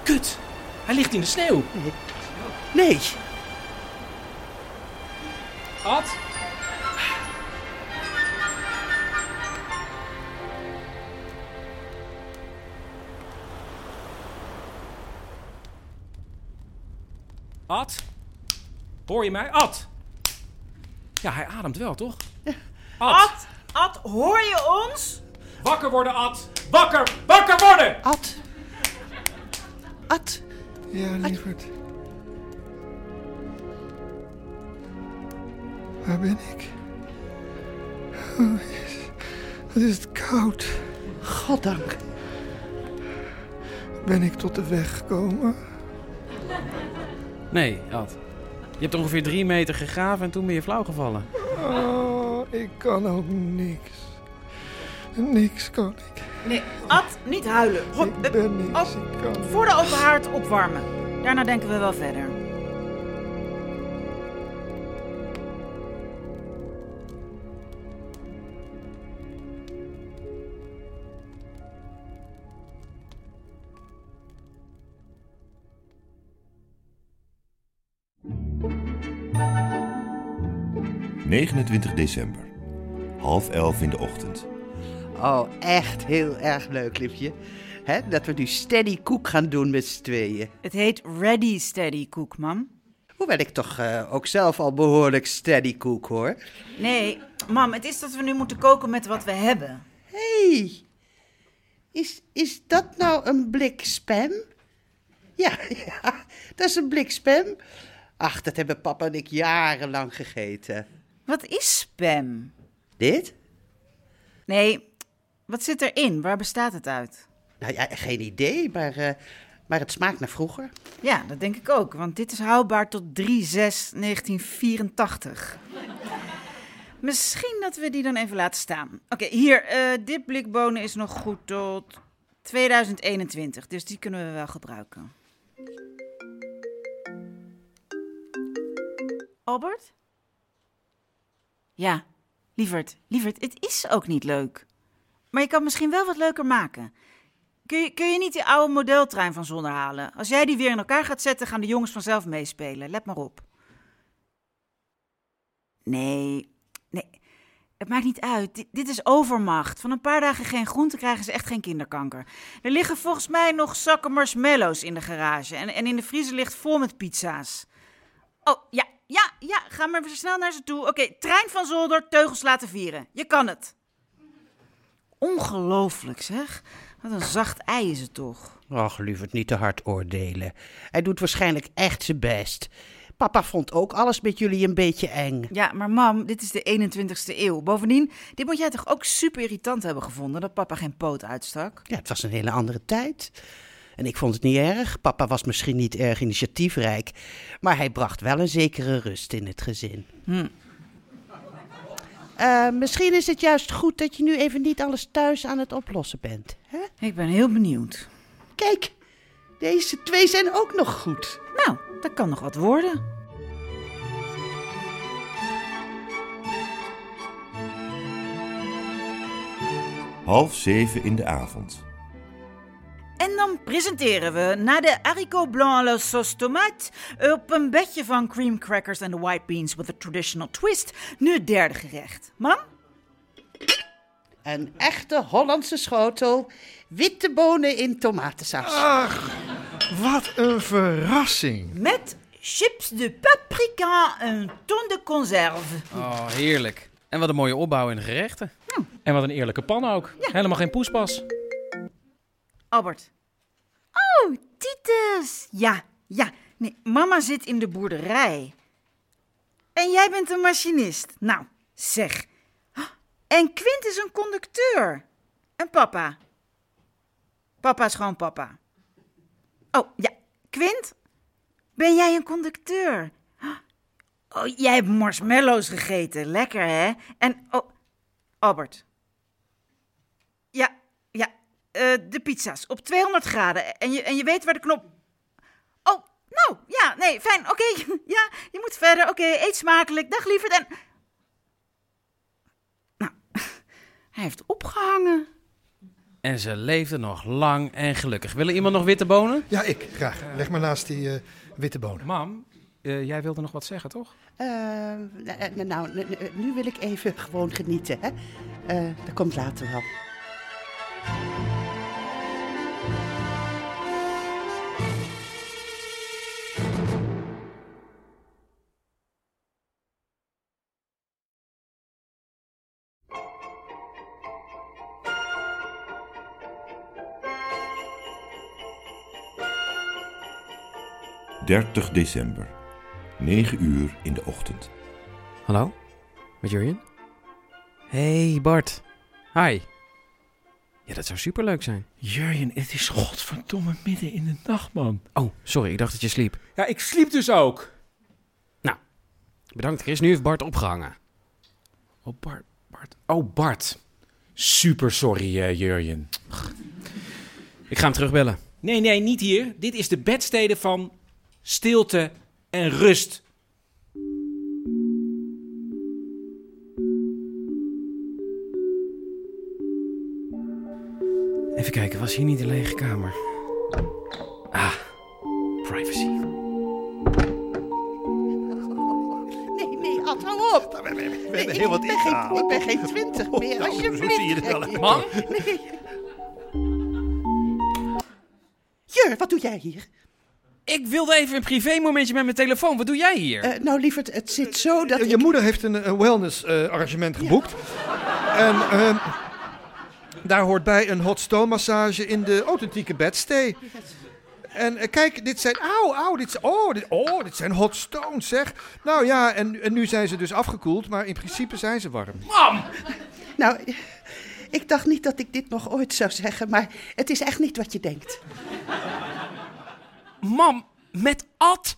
[SPEAKER 13] Kut. Hij ligt in de sneeuw.
[SPEAKER 4] Nee. nee.
[SPEAKER 6] Ad? Ad? Hoor je mij? Ad! Ja, hij ademt wel, toch? Ad! Ad,
[SPEAKER 5] hoor je ons?
[SPEAKER 6] Wakker worden, Ad! Wakker! Wakker worden!
[SPEAKER 4] Ad. Ad.
[SPEAKER 8] Ja, lieverd. Waar ben ik? Oh, jezus. Wat is het koud.
[SPEAKER 4] Goddank.
[SPEAKER 8] Ben ik tot de weg gekomen?
[SPEAKER 13] Nee, Ad. Je hebt ongeveer drie meter gegraven en toen ben je flauw gevallen.
[SPEAKER 8] Oh, ik kan ook niks. Niks kan ik.
[SPEAKER 5] Nee, Ad, niet huilen. Rob, ik ben niks, Voor de open haard opwarmen. Daarna denken we wel verder.
[SPEAKER 10] 29 december, half elf in de ochtend.
[SPEAKER 4] Oh, echt heel erg leuk, liefje. Hè, dat we nu steady koek gaan doen met z'n tweeën.
[SPEAKER 5] Het heet Ready Steady Cook, mam.
[SPEAKER 4] Hoewel ik toch eh, ook zelf al behoorlijk steady koek hoor.
[SPEAKER 5] Nee, mam, het is dat we nu moeten koken met wat we hebben.
[SPEAKER 4] Hé, hey, is, is dat nou een blik spam? Ja, *laughs* ja, dat is een blik spam. Ach, dat hebben papa en ik jarenlang gegeten.
[SPEAKER 5] Wat is spam?
[SPEAKER 4] Dit?
[SPEAKER 5] Nee, wat zit erin? Waar bestaat het uit?
[SPEAKER 4] Nou ja, geen idee, maar, eh, maar het smaakt naar vroeger.
[SPEAKER 5] Ja, dat denk ik ook, want dit is houdbaar tot 3-6-1984. Misschien dat we die dan even laten staan. Oké, hier, eh, dit blik bonen is nog goed tot 2021, dus die kunnen we wel gebruiken. Albert? Ja, lieverd, lieverd, het is ook niet leuk. Maar je kan misschien wel wat leuker maken. Kun je, kun je niet die oude modeltrein van zonder halen? Als jij die weer in elkaar gaat zetten, gaan de jongens vanzelf meespelen. Let maar op. Nee, nee. Het maakt niet uit. Dit, dit is overmacht. Van een paar dagen geen groente krijgen ze echt geen kinderkanker. Er liggen volgens mij nog zakken marshmallows in de garage. En, en in de vriezer ligt vol met pizza's. Oh, ja, ja, ja. Ga maar even snel naar ze toe. Oké, trein van zolder, teugels laten vieren. Je kan het. Ongelooflijk, zeg. Wat een zacht ei is het toch.
[SPEAKER 4] Ach, lieverd, niet te hard oordelen. Hij doet waarschijnlijk echt zijn best. Papa vond ook alles met jullie een beetje eng.
[SPEAKER 5] Ja, maar mam, dit is de 21ste eeuw. Bovendien, dit moet jij toch ook super irritant hebben gevonden dat papa geen poot uitstak?
[SPEAKER 4] Ja, het was een hele andere tijd. En ik vond het niet erg. Papa was misschien niet erg initiatiefrijk, maar hij bracht wel een zekere rust in het gezin. Eh, misschien is het juist goed dat je nu even niet alles thuis aan het oplossen bent. Hè?
[SPEAKER 5] Ik ben heel benieuwd.
[SPEAKER 4] Kijk, deze twee zijn ook nog goed.
[SPEAKER 5] Nou, dat kan nog wat worden.
[SPEAKER 10] Half zeven in de avond.
[SPEAKER 5] En dan presenteren we na de haricot blanc à la sauce tomate op een bedje van cream crackers en de white beans with a traditional twist nu het derde gerecht. Mam?
[SPEAKER 4] Een echte Hollandse schotel, witte bonen in tomatensaus.
[SPEAKER 18] Ach, wat een verrassing.
[SPEAKER 5] Met chips de paprika, een ton de conserve.
[SPEAKER 13] Oh, heerlijk. En wat een mooie opbouw in de gerechten. En wat een eerlijke pan ook. Helemaal geen poespas.
[SPEAKER 5] Albert. Oh, Titus. Ja, ja. Nee, mama zit in de boerderij. En jij bent een machinist. Nou, zeg. En Quint is een conducteur. En papa. Papa is gewoon papa. Oh, ja. Quint, ben jij een conducteur? Oh, jij hebt marshmallows gegeten. Lekker, hè? En, oh, Albert. Ja, ja, eh, de pizza's op 200 graden. En je, en je weet waar de knop... Oh, nou, ja, nee, fijn, oké. *laughs* ja, je moet verder, oké, eet smakelijk. Dag, lieverd. En... Nou, *laughs* hij heeft opgehangen.
[SPEAKER 13] En ze leefden nog lang en gelukkig. Wil er iemand nog witte bonen?
[SPEAKER 18] Ja, ik graag. Leg maar naast die eh, witte bonen.
[SPEAKER 13] Mam, eh, jij wilde nog wat zeggen, toch?
[SPEAKER 4] Eh, eh, nou, n- n- nu wil ik even gewoon genieten. Hè? Eh, dat komt later wel.
[SPEAKER 10] .30 30 december, 9 uur in de ochtend.
[SPEAKER 13] Hallo, met Jurjen? Hey Bart. Hi. Ja, dat zou superleuk zijn.
[SPEAKER 6] Jurjen, het is godverdomme midden in de nacht, man.
[SPEAKER 13] Oh, sorry, ik dacht dat je sliep.
[SPEAKER 6] Ja, ik sliep dus ook.
[SPEAKER 13] Bedankt Chris, nu heeft Bart opgehangen. Oh, Bart, Bart. Oh, Bart. Super sorry, eh Jurjen. Ik ga hem terugbellen.
[SPEAKER 6] Nee, nee, niet hier. Dit is de bedstede van stilte en rust.
[SPEAKER 13] Even kijken, was hier niet de lege kamer? Ah, privacy.
[SPEAKER 4] Nee, nee, Ad, hou op.
[SPEAKER 10] We
[SPEAKER 4] Nee,
[SPEAKER 10] hebben heel wat
[SPEAKER 4] ik, ben geen,
[SPEAKER 10] ingehaald.
[SPEAKER 4] ik ben geen twintig meer,
[SPEAKER 10] nou, zo
[SPEAKER 4] alsjeblieft.
[SPEAKER 10] zie je het wel, hè.
[SPEAKER 4] Man? Jur, wat doe jij hier?
[SPEAKER 6] Ik wilde even een privémomentje met mijn telefoon. Wat doe jij hier?
[SPEAKER 4] Eh, nou, lieverd, het zit zo dat.
[SPEAKER 13] Je moeder heeft een, eh, wellness eh, arrangement geboekt. En ehm, daar hoort bij een hot stone massage in de authentieke bedstee. En eh, kijk, dit zijn. Auw, auw, dit, zijn- oh, dit, oh, dit zijn hot stones, zeg. Nou ja, en, en nu zijn ze dus afgekoeld, maar in principe zijn ze warm.
[SPEAKER 4] Mam! Nou, ik dacht niet dat ik dit nog ooit zou zeggen, maar het is echt niet wat je denkt.
[SPEAKER 6] Mam, met Ad?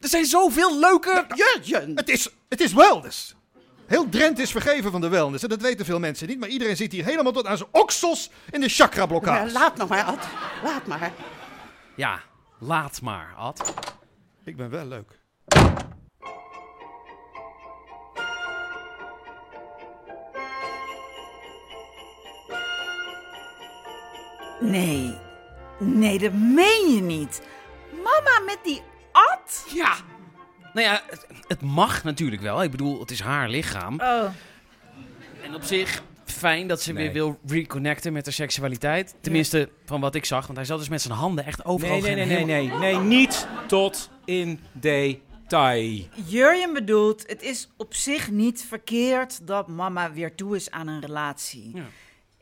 [SPEAKER 6] Er zijn zoveel leuke...
[SPEAKER 4] Jurjen!
[SPEAKER 13] Het is, het is wellness. Heel Drenthe is vergeven van de wellness. En dat weten veel mensen niet. Maar iedereen zit hier helemaal tot aan zijn oksels in de chakra-blokkade.
[SPEAKER 4] Ja, laat nog maar, Ad. Laat maar.
[SPEAKER 6] Ja, laat maar, Ad.
[SPEAKER 13] Ik ben wel leuk.
[SPEAKER 5] Nee, nee, dat meen je niet. Mama met die at?
[SPEAKER 6] Ja. Nou ja, het, het mag natuurlijk wel. Ik bedoel, het is haar lichaam.
[SPEAKER 5] Oh.
[SPEAKER 6] En op zich fijn dat ze weer wil reconnecten met haar seksualiteit. Tenminste, van wat ik zag. Want hij zat dus met zijn handen echt overal.
[SPEAKER 19] Nee, nee, nee, nee, nee, nee, niet tot in detail.
[SPEAKER 5] Jurjen bedoelt, het is op zich niet verkeerd dat mama weer toe is aan een relatie.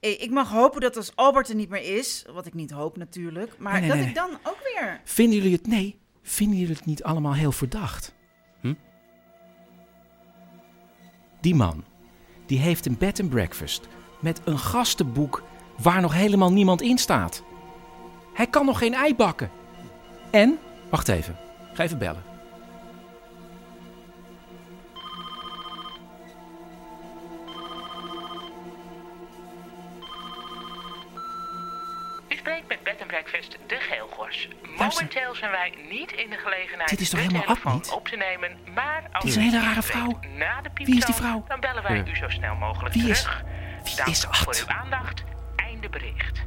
[SPEAKER 5] I- Ik mag hopen dat als Albert er niet meer is, wat ik niet hoop natuurlijk, maar
[SPEAKER 6] Nee, nee,
[SPEAKER 5] dat
[SPEAKER 6] nee.
[SPEAKER 5] ik dan ook weer...
[SPEAKER 6] Vinden jullie het... Nee, vinden jullie het niet allemaal heel verdacht? Hm? Die man, die heeft een bed and breakfast met een gastenboek waar nog helemaal niemand in staat. Hij kan nog geen ei bakken. En, wacht even, ga even bellen.
[SPEAKER 2] U spreekt met Bed and Breakfast De Geelgors. Eh, Momenteel zijn wij niet in de gelegenheid
[SPEAKER 6] Dit is toch
[SPEAKER 2] de
[SPEAKER 6] helemaal Ad
[SPEAKER 2] telefoon
[SPEAKER 6] niet? Nou,
[SPEAKER 2] op te nemen, maar als
[SPEAKER 6] Dit is
[SPEAKER 2] u
[SPEAKER 6] een hele
[SPEAKER 2] iets
[SPEAKER 6] rare
[SPEAKER 2] weet
[SPEAKER 6] vrouw.
[SPEAKER 2] Na de
[SPEAKER 6] Wie is die
[SPEAKER 2] pieptoon,
[SPEAKER 6] vrouw?
[SPEAKER 2] Dan bellen wij
[SPEAKER 6] Ja.
[SPEAKER 2] u zo snel mogelijk
[SPEAKER 6] Wie is-
[SPEAKER 2] terug.
[SPEAKER 6] wie
[SPEAKER 2] Dank
[SPEAKER 6] is
[SPEAKER 2] voor
[SPEAKER 6] Ad?
[SPEAKER 2] uw aandacht. Einde bericht.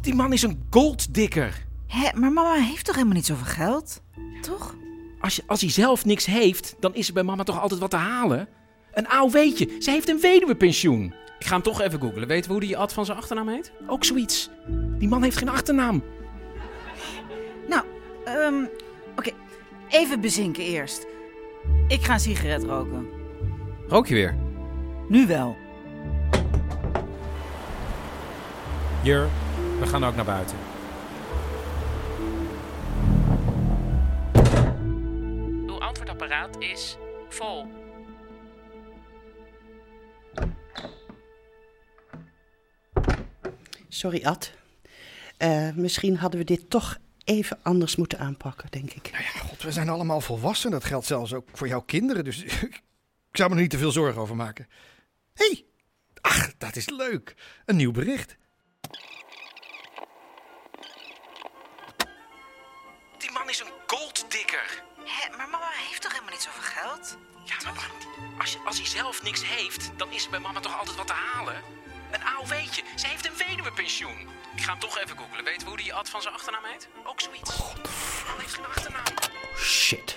[SPEAKER 6] Die man is een golddikker.
[SPEAKER 5] Hè, maar mama heeft toch helemaal niet zoveel geld? Toch?
[SPEAKER 6] Als, je, als hij zelf niks heeft, dan is er bij mama toch altijd wat te halen? Een AOW'tje. Ze heeft een weduwepensioen. Ik ga hem toch even googlen. Weten we hoe die Ad van zijn achternaam heet? Ook zoiets. Die man heeft geen achternaam.
[SPEAKER 5] Nou, ehm, oké, even bezinken eerst. Ik ga een sigaret roken.
[SPEAKER 6] Rook je weer?
[SPEAKER 5] Nu wel.
[SPEAKER 19] Jur, we gaan ook naar buiten.
[SPEAKER 20] Uw antwoordapparaat is vol.
[SPEAKER 4] Sorry, Ad. Eh, misschien hadden we dit toch even anders moeten aanpakken, denk ik.
[SPEAKER 13] God, we zijn allemaal volwassen. Dat geldt zelfs ook voor jouw kinderen. Dus *laughs* ik zou me er niet te veel zorgen over maken. Hé, hey, ach, dat is leuk. Een nieuw bericht.
[SPEAKER 6] Die man is een golddikker.
[SPEAKER 5] Hè, maar mama heeft toch helemaal niet zoveel geld?
[SPEAKER 6] Ja, maar wacht. als, je- als hij zelf niks heeft, dan is er bij mama toch altijd wat te halen? Een AOW'tje. Ze heeft een weduwepensioen. Ik ga hem toch even googlen. Weten we hoe die Ad van zijn achternaam heet? Ook zoiets. Die man heeft geen achternaam.
[SPEAKER 21] Shit.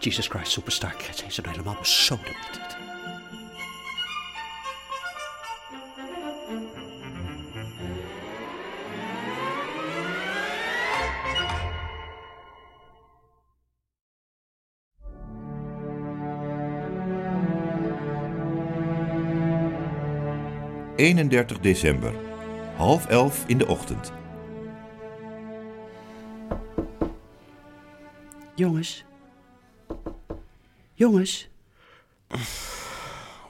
[SPEAKER 21] Jesus Christ Superstar Cat heeft hem helemaal besodemieterd.
[SPEAKER 22] ...31 december, half elf in de ochtend.
[SPEAKER 4] Jongens. Jongens.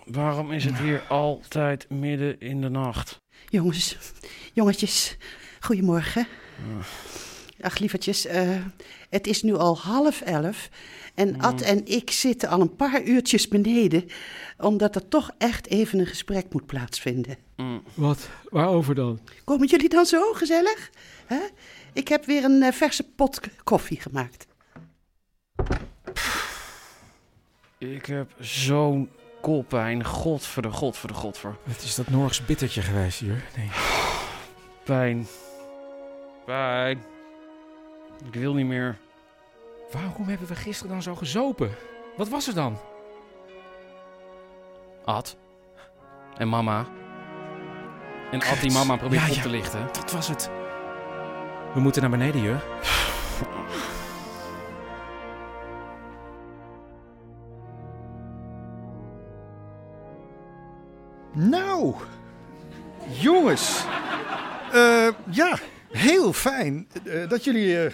[SPEAKER 6] Waarom is het hier altijd midden in de nacht?
[SPEAKER 4] Jongens, jongetjes, goedemorgen. Ach, lievertjes, eh, het is nu al half elf.
[SPEAKER 6] Mm.
[SPEAKER 4] En Ad en ik zitten al een paar uurtjes beneden, omdat er toch echt even een gesprek moet plaatsvinden.
[SPEAKER 6] Mm.
[SPEAKER 23] Wat? Waarover dan?
[SPEAKER 4] Komen jullie dan zo gezellig? Hè? Ik heb weer een eh, verse pot k- koffie gemaakt.
[SPEAKER 6] Ik heb zo'n koppijn. Godverde, godverde, godver.
[SPEAKER 19] Het is dat Norgs bittertje geweest, Jur. Nee.
[SPEAKER 6] Pijn. Pijn. Ik wil niet meer.
[SPEAKER 19] Waarom hebben we gisteren dan zo gezopen?
[SPEAKER 6] Wat was er dan?
[SPEAKER 13] Ad. En mama. En Ad die mama probeert
[SPEAKER 6] Ja,
[SPEAKER 13] op
[SPEAKER 6] ja,
[SPEAKER 13] te lichten.
[SPEAKER 6] Dat was het. We moeten naar beneden, joh.
[SPEAKER 8] Nou, jongens. Eh, ja, heel fijn eh, dat jullie eh,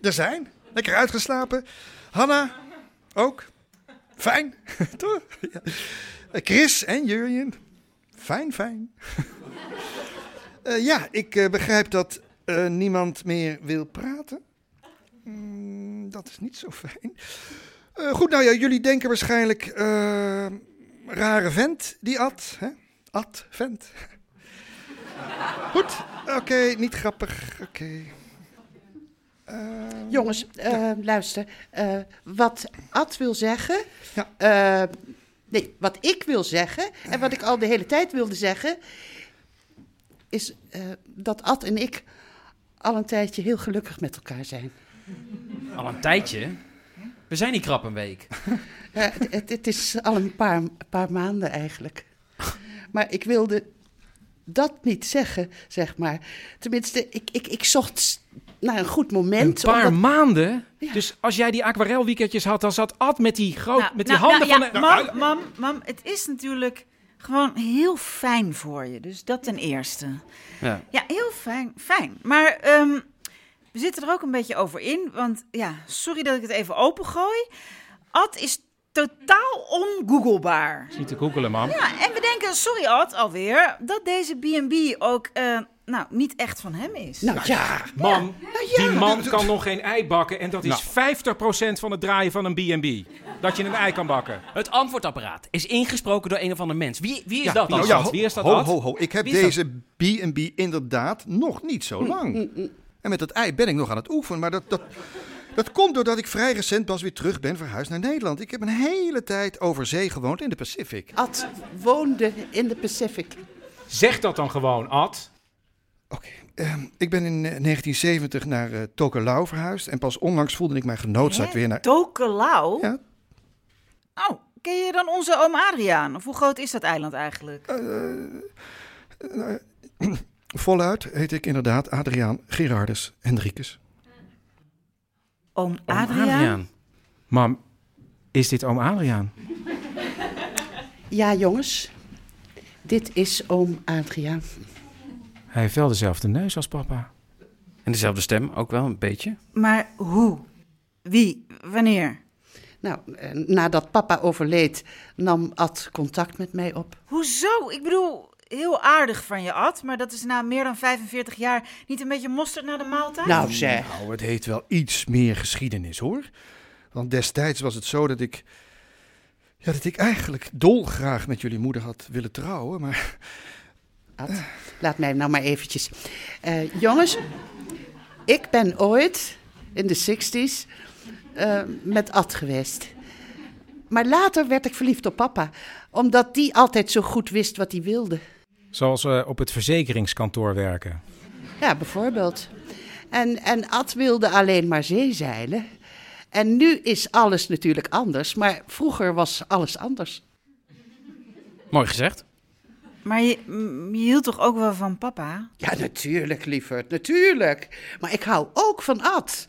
[SPEAKER 8] er zijn. Lekker uitgeslapen. Hanna, ook. Fijn, *laughs* toch? Ja. Eh, Chris en Jurjen. Fijn, fijn. *laughs* Eh, ja, ik eh, begrijp dat eh, niemand meer wil praten. Mm, dat is niet zo fijn. Eh, goed, nou ja, jullie denken waarschijnlijk... eh, rare vent, die Ad. Hè? Ad, vent. goed, oké, niet grappig. Oké.
[SPEAKER 4] Jongens, eh, luister. eh, wat Ad wil zeggen. eh, nee, wat ik wil zeggen. En wat ik al de hele tijd wilde zeggen. Is eh, dat Ad en ik al een tijdje heel gelukkig met elkaar zijn.
[SPEAKER 13] Al een tijdje. We zijn niet krap een week.
[SPEAKER 4] Eh, het, het- het is al een paar, paar maanden eigenlijk. Maar ik wilde dat niet zeggen, zeg maar. Tenminste, ik, ik, ik zocht s- naar een goed moment.
[SPEAKER 6] Een paar
[SPEAKER 4] omdat-
[SPEAKER 6] maanden? Dus als jij die aquarelweekendjes had, dan zat Ad met die, groot, met die
[SPEAKER 5] Nou,
[SPEAKER 6] handen
[SPEAKER 5] nou, ja,
[SPEAKER 6] van... de-
[SPEAKER 5] Mam, mam, mam, het is natuurlijk gewoon heel fijn voor je. Dus dat ten eerste.
[SPEAKER 13] Ja.
[SPEAKER 5] Ja, heel fijn. fijn. Maar ehm, we zitten er ook een beetje over in. Want ja, sorry dat ik het even opengooi. Ad is totaal ongooglebaar.
[SPEAKER 6] Is niet te googelen, mam.
[SPEAKER 5] Ja, en we denken, sorry Ad, alweer, dat deze B&B ook eh, nou, niet echt van hem is.
[SPEAKER 6] Nou ja, man, die *laughs* man kan nog geen ei bakken en dat
[SPEAKER 13] Nou.
[SPEAKER 6] is 50% van het draaien van een B&B. Dat je een ei kan bakken.
[SPEAKER 13] Het antwoordapparaat is ingesproken door een of ander mens. Wie, wie is
[SPEAKER 8] Ja,
[SPEAKER 13] dat dan?
[SPEAKER 8] nou ja, ho-
[SPEAKER 13] Wie is dat
[SPEAKER 8] ho,
[SPEAKER 13] Ad?
[SPEAKER 8] ho, ho. Ik heb
[SPEAKER 13] Wie is dat? Hm,
[SPEAKER 8] deze B&B inderdaad nog niet zo lang. En met dat ei ben ik nog aan het oefenen. Maar dat, dat, dat komt doordat ik vrij recent pas weer terug ben verhuisd naar Nederland. Ik heb een hele tijd over zee gewoond in de Pacific.
[SPEAKER 4] Ad woonde in de Pacific.
[SPEAKER 6] Zeg dat dan gewoon, Ad.
[SPEAKER 8] Ehm, ik ben in eh, 1970 naar eh Tokelau verhuisd. En pas onlangs voelde ik mij genoodzaakt weer naar...
[SPEAKER 5] Tokelau? Oh, ken je dan onze oom Adriaan? Of hoe groot is dat eiland eigenlijk?
[SPEAKER 8] Voluit heet ik inderdaad Adriaan Gerardus Hendrikus.
[SPEAKER 5] oom
[SPEAKER 6] Adriaan? Mam, is dit oom Adriaan?
[SPEAKER 4] Ja, jongens. Dit is oom Adriaan.
[SPEAKER 6] Hij heeft wel dezelfde neus als papa.
[SPEAKER 13] En dezelfde stem ook wel, een beetje.
[SPEAKER 5] Maar hoe? Wie? Wanneer?
[SPEAKER 4] Nou, eh, nadat papa overleed, nam Ad contact met mij op.
[SPEAKER 5] Hoezo? Ik bedoel, heel aardig van je, Ad. Maar dat is na meer dan 45 jaar niet een beetje mosterd naar de maaltijd?
[SPEAKER 8] Nou, het heeft wel iets meer geschiedenis, hoor. Want destijds was het zo dat ik... Ja, dat ik eigenlijk dolgraag met jullie moeder had willen trouwen, maar...
[SPEAKER 4] Ad, laat mij nou maar eventjes. Eh, jongens, ik ben ooit in de 60s eh, met Ad geweest. Maar later werd ik verliefd op papa, omdat die altijd zo goed wist wat hij wilde.
[SPEAKER 6] Zoals eh, op het verzekeringskantoor werken.
[SPEAKER 4] Ja, bijvoorbeeld. En, en Ad wilde alleen maar zeezeilen. En nu is alles natuurlijk anders, maar vroeger was alles anders.
[SPEAKER 13] Mooi gezegd.
[SPEAKER 5] Maar je, m, je hield toch ook wel van papa?
[SPEAKER 4] Ja, natuurlijk, lieverd, natuurlijk. Maar ik hou ook van Ad.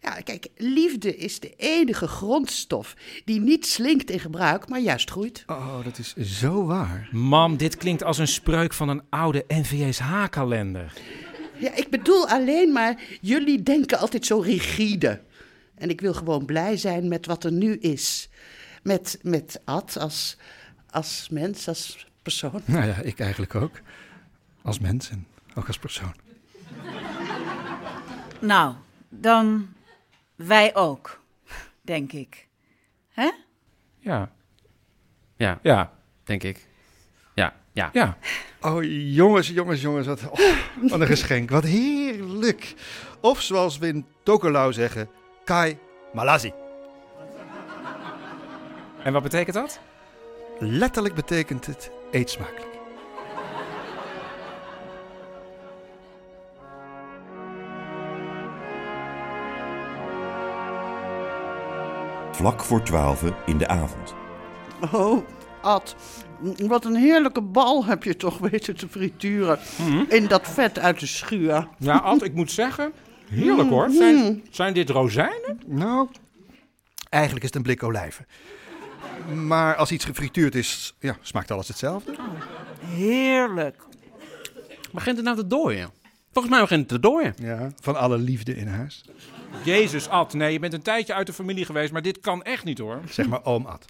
[SPEAKER 4] Ja, kijk, liefde is de enige grondstof die niet slinkt in gebruik, maar juist groeit.
[SPEAKER 8] Oh, dat is zo waar.
[SPEAKER 6] Mam, dit klinkt als een spreuk van een oude NVSH-kalender.
[SPEAKER 4] Ja, ik bedoel alleen maar, jullie denken altijd zo rigide. En ik wil gewoon blij zijn met wat er nu is. Met, met Ad als, als mens, als persoon.
[SPEAKER 8] Nou ja, ik eigenlijk ook. Als mens en ook als persoon.
[SPEAKER 5] Nou, dan wij ook, denk ik. Hè?
[SPEAKER 6] Ja.
[SPEAKER 13] Ja.
[SPEAKER 6] Ja.
[SPEAKER 13] Denk ik. Ja. Ja.
[SPEAKER 6] Ja.
[SPEAKER 8] Oh, jongens, jongens, jongens. Wat, oh, wat een geschenk. Wat heerlijk. Of zoals we in Tokelau zeggen, Kai Malazi.
[SPEAKER 6] En wat betekent dat?
[SPEAKER 8] Letterlijk betekent het eet smakelijk.
[SPEAKER 10] vlak voor twaalfen in de avond.
[SPEAKER 4] Oh, Ad, wat een heerlijke bal heb je toch weten te frituren.
[SPEAKER 8] Mhm.
[SPEAKER 4] In dat vet uit de schuur.
[SPEAKER 6] Ja, Nou, Ad, ik moet zeggen, heerlijk hoor. Zijn, zijn dit rozijnen?
[SPEAKER 8] Nou, eigenlijk is het een blik olijven. Maar als iets gefrituurd is, ja, smaakt alles hetzelfde.
[SPEAKER 13] Heerlijk. Begint het nou te dooien? Volgens mij begint het te dooien.
[SPEAKER 8] Ja, van alle liefde in huis.
[SPEAKER 6] Jezus, Ad, nee, je bent een tijdje uit de familie geweest, maar dit kan echt niet hoor.
[SPEAKER 8] Zeg maar oom Ad.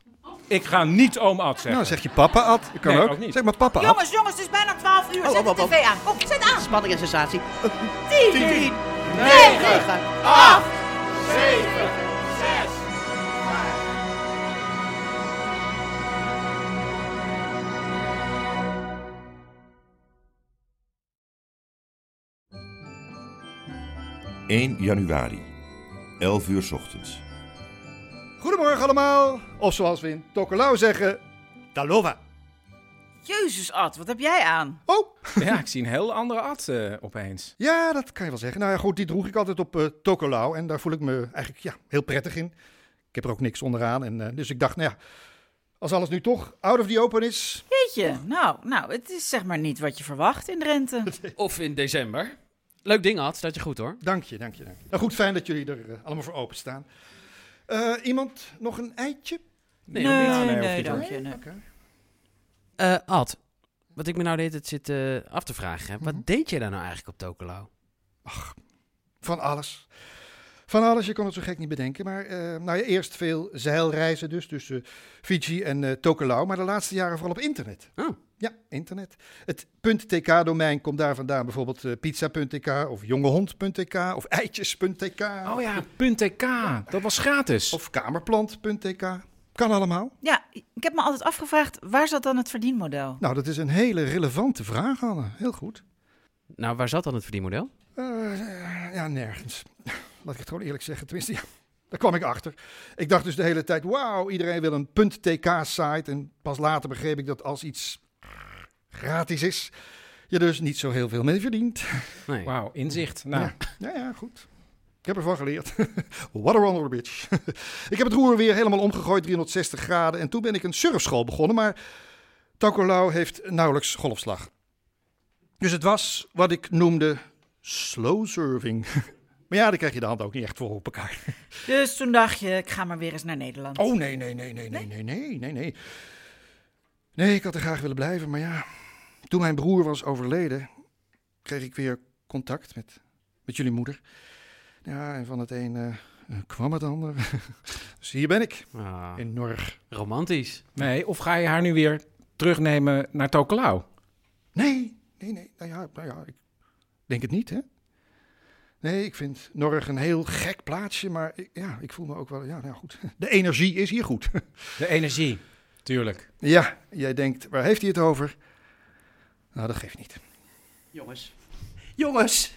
[SPEAKER 6] Ik ga niet oom Ad zeggen.
[SPEAKER 8] Nou, zeg je papa Ad. Dat kan
[SPEAKER 6] Nee,
[SPEAKER 8] ook.
[SPEAKER 6] ook niet.
[SPEAKER 8] Zeg maar papa Ad.
[SPEAKER 5] Jongens, jongens, het is bijna 12 uur.
[SPEAKER 8] Oh,
[SPEAKER 5] Zet de
[SPEAKER 8] oh, oh,
[SPEAKER 5] tv aan. Kom, zet aan.
[SPEAKER 4] Spanning en sensatie.
[SPEAKER 5] 10,
[SPEAKER 4] 10,
[SPEAKER 5] 9, 8,
[SPEAKER 8] Ah.
[SPEAKER 5] 7, 6.
[SPEAKER 10] ...1 januari, 11 uur 's ochtends.
[SPEAKER 8] Goedemorgen allemaal. Of zoals we in Tokelau zeggen, Talova.
[SPEAKER 5] Jezus, Ad, wat heb jij aan?
[SPEAKER 8] Oh.
[SPEAKER 6] Ja, ik zie een heel andere Ad eh, opeens.
[SPEAKER 8] Ja, dat kan je wel zeggen. Nou ja, goed, die droeg ik altijd op eh Tokelau. En daar voel ik me eigenlijk ja, heel prettig in. Ik heb er ook niks onderaan. En, eh, dus ik dacht, nou ja, als alles nu toch out of the open is...
[SPEAKER 5] Jeetje, nou, nou, het is zeg maar niet wat je verwacht in Drenthe.
[SPEAKER 13] Of in december. Leuk ding, Ad. Staat je goed, hoor.
[SPEAKER 8] Dank je, dank je. Dank je. Nou goed, fijn dat jullie er eh, allemaal voor openstaan. Eh iemand nog een eitje?
[SPEAKER 13] Nee, Nee, hoeft niet. nee, nee,
[SPEAKER 8] hoeft niet,
[SPEAKER 13] dank je,
[SPEAKER 8] hoor.
[SPEAKER 13] nee.
[SPEAKER 8] Oké.
[SPEAKER 13] Eh, Ad, wat ik me nou de hele tijd zit eh, af te vragen. hè. Wat deed jij daar nou eigenlijk op Tokelau?
[SPEAKER 8] Van alles. Van alles, je kon het zo gek niet bedenken. Maar eh, nou ja, eerst veel zeilreizen dus tussen Fiji en eh, Tokelau. Maar de laatste jaren vooral op internet.
[SPEAKER 6] Oh.
[SPEAKER 8] Ja, internet. Het .tk-domein komt daar vandaan. Bijvoorbeeld eh, pizza.tk of jongehond.tk of eitjes.tk. Oh
[SPEAKER 6] ja, .tk. Dat was gratis.
[SPEAKER 8] Of kamerplant.tk. Kan allemaal.
[SPEAKER 5] Ja, ik heb me altijd afgevraagd, waar zat dan het verdienmodel?
[SPEAKER 8] Nou, dat is een hele relevante vraag, Anne. Heel goed.
[SPEAKER 13] Nou, waar zat dan het verdienmodel?
[SPEAKER 8] Eh, ja, nergens. Laat ik het gewoon eerlijk zeggen. Tenminste, ja, daar kwam ik achter. Ik dacht dus de hele tijd, wauw, iedereen wil een .tk-site. En pas later begreep ik dat als iets gratis is, je dus niet zo heel veel mee verdient.
[SPEAKER 6] Wauw, inzicht. Nou,
[SPEAKER 8] Ja. Ja, ja, goed. Ik heb ervan geleerd. *laughs* What a wonderful bitch. *laughs* ik heb het roer weer helemaal omgegooid, 360 graden. En toen ben ik een surfschool begonnen, maar Tokelau heeft nauwelijks golfslag. Dus het was wat ik noemde slow surfing. *laughs* maar ja, daar krijg je de hand ook niet echt voor op elkaar.
[SPEAKER 5] Dus toen dacht je, ik ga maar weer eens naar Nederland.
[SPEAKER 8] Oh, nee, nee, nee, nee, nee, nee, nee, nee, nee. Nee, ik had er graag willen blijven, maar ja. Toen mijn broer was overleden, kreeg ik weer contact met, met jullie moeder. Ja, en van het een eh, kwam het ander. *laughs* dus hier ben ik. In Norg.
[SPEAKER 13] Romantisch.
[SPEAKER 6] Nee, of ga je haar nu weer terugnemen naar Tokelau?
[SPEAKER 8] Nee, nee, nee. Nou ja, nou ja, ik denk het niet, hè? Nee, ik vind Norg een heel gek plaatsje, maar ik- ja, ik voel me ook wel... Ja, nou goed. De energie is hier goed.
[SPEAKER 6] De energie, tuurlijk.
[SPEAKER 8] ja, jij denkt, waar heeft hij het over? Nou, dat geeft niet.
[SPEAKER 4] Jongens, jongens,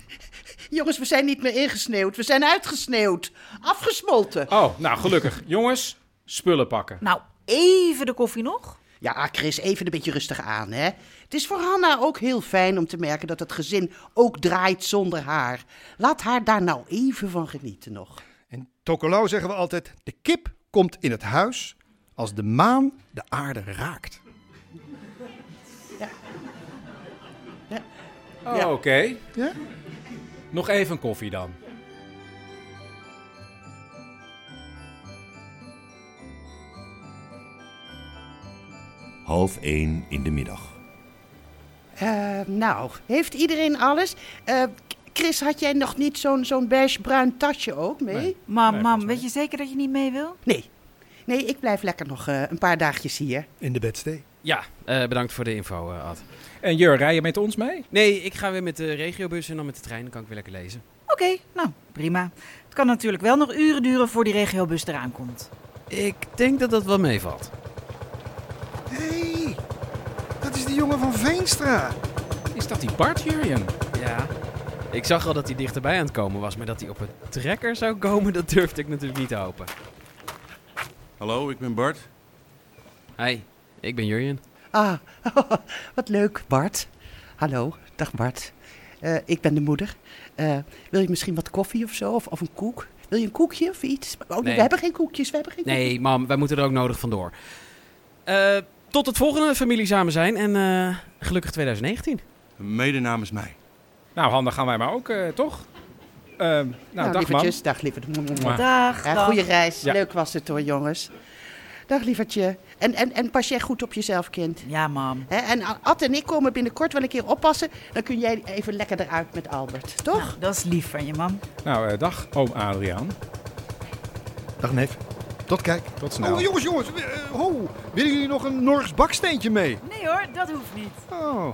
[SPEAKER 4] jongens, we zijn niet meer ingesneeuwd. We zijn uitgesneeuwd. Afgesmolten.
[SPEAKER 6] Oh, nou gelukkig. *laughs* Jongens, spullen pakken.
[SPEAKER 5] Nou, even de koffie nog.
[SPEAKER 4] Ja, Chris, even een beetje rustig aan, hè. Het is voor Hanna ook heel fijn om te merken dat het gezin ook draait zonder haar. Laat haar daar nou even van genieten nog.
[SPEAKER 8] In Tokelau zeggen we altijd: de kip komt in het huis als de maan de aarde raakt.
[SPEAKER 6] Oh,
[SPEAKER 8] Ja.
[SPEAKER 6] oké.
[SPEAKER 8] Ja?
[SPEAKER 6] Nog even een koffie dan.
[SPEAKER 10] Half 1 in de middag.
[SPEAKER 4] Eh, nou, heeft iedereen alles? Eh, Chris, had jij nog niet zo'n zo'n beige bruin tasje ook mee?
[SPEAKER 5] Nee. Mam, Nee, mam, volgens mij weet je zeker dat je niet mee wil?
[SPEAKER 4] Nee. Nee, ik blijf lekker nog eh, een paar dagjes hier.
[SPEAKER 8] In de bedstee.
[SPEAKER 13] Ja, eh, bedankt voor de info, eh, Ad.
[SPEAKER 6] En Jur, rij je met ons mee?
[SPEAKER 13] Nee, ik ga weer met de regiobus en dan met de trein. Dan kan ik weer lekker lezen.
[SPEAKER 5] Oké, nou, prima. Het kan natuurlijk wel nog uren duren voor die regiobus eraan komt.
[SPEAKER 13] Ik denk dat dat wel meevalt.
[SPEAKER 8] Hé, hey, dat is die jongen van Veenstra.
[SPEAKER 6] Is dat die Bart Jurjen?
[SPEAKER 13] Ja. Ik zag al dat hij dichterbij aan het komen was, maar dat hij op een trekker zou komen, *laughs* dat durfde ik natuurlijk niet te hopen.
[SPEAKER 24] Hallo, ik ben Bart.
[SPEAKER 13] Hi, ik ben Jurjen.
[SPEAKER 4] Ah, *laughs* wat leuk, Bart. Hallo, dag Bart. Eh, ik ben de moeder. Eh, wil je misschien wat koffie of zo? Of, of een koek? Wil je een koekje of iets? Oh, nee,
[SPEAKER 6] Nee.
[SPEAKER 4] we hebben geen koekjes, we hebben *laughs* geen koekjes.
[SPEAKER 6] Nee, mam, wij moeten er ook nodig vandoor. Eh, tot het volgende familie samen zijn en eh, gelukkig 2019.
[SPEAKER 10] Mede namens mij.
[SPEAKER 25] Nou, Han, dan gaan wij maar ook, eh, toch? Ehm, nou,
[SPEAKER 4] Nou,
[SPEAKER 25] dag, man.
[SPEAKER 4] lievertjes, dag, lieverd.
[SPEAKER 25] Mwah.
[SPEAKER 4] Dag,
[SPEAKER 25] dag.
[SPEAKER 4] Goede Eh, reis.
[SPEAKER 25] Ja.
[SPEAKER 4] Leuk was het hoor, jongens. Dag, lievertje. En, en, en pas jij goed op jezelf, kind.
[SPEAKER 5] Ja, mam.
[SPEAKER 4] En Ad en ik komen binnenkort wel een keer oppassen. Dan kun jij even lekker eruit met Albert, toch?
[SPEAKER 5] dat is lief van je, mam.
[SPEAKER 25] Nou, eh, dag, oom Adriaan.
[SPEAKER 13] Dag, neef. Tot kijk.
[SPEAKER 25] Tot snel.
[SPEAKER 13] Oh, jongens, jongens. eh, eh, ho, willen jullie nog een Norgs baksteentje mee?
[SPEAKER 5] Nee hoor, dat hoeft niet.
[SPEAKER 13] Oh.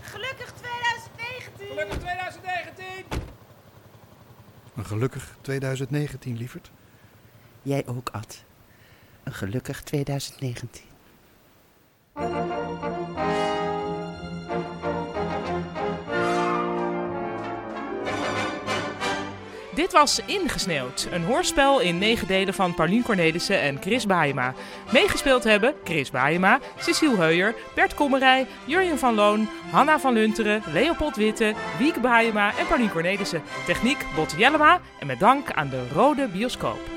[SPEAKER 5] Gelukkig 2019!
[SPEAKER 26] Gelukkig 2019!
[SPEAKER 13] Een gelukkig 2019, lieverd.
[SPEAKER 4] Jij ook, Ad. Een gelukkig 2019.
[SPEAKER 2] Dit was Ingesneeuwd, een hoorspel in negen delen van Paulien Cornelissen en Chris Baaema. Meegespeeld hebben Chris Baaema, Cecile Heuyer, Bert Kommerij, Jurjen van Loon, Hanna van Lunteren, Leopold Witte, Wieke Baaema en Paulien Cornelissen. Techniek Botte Jellema en met dank aan de Rode Bioscoop.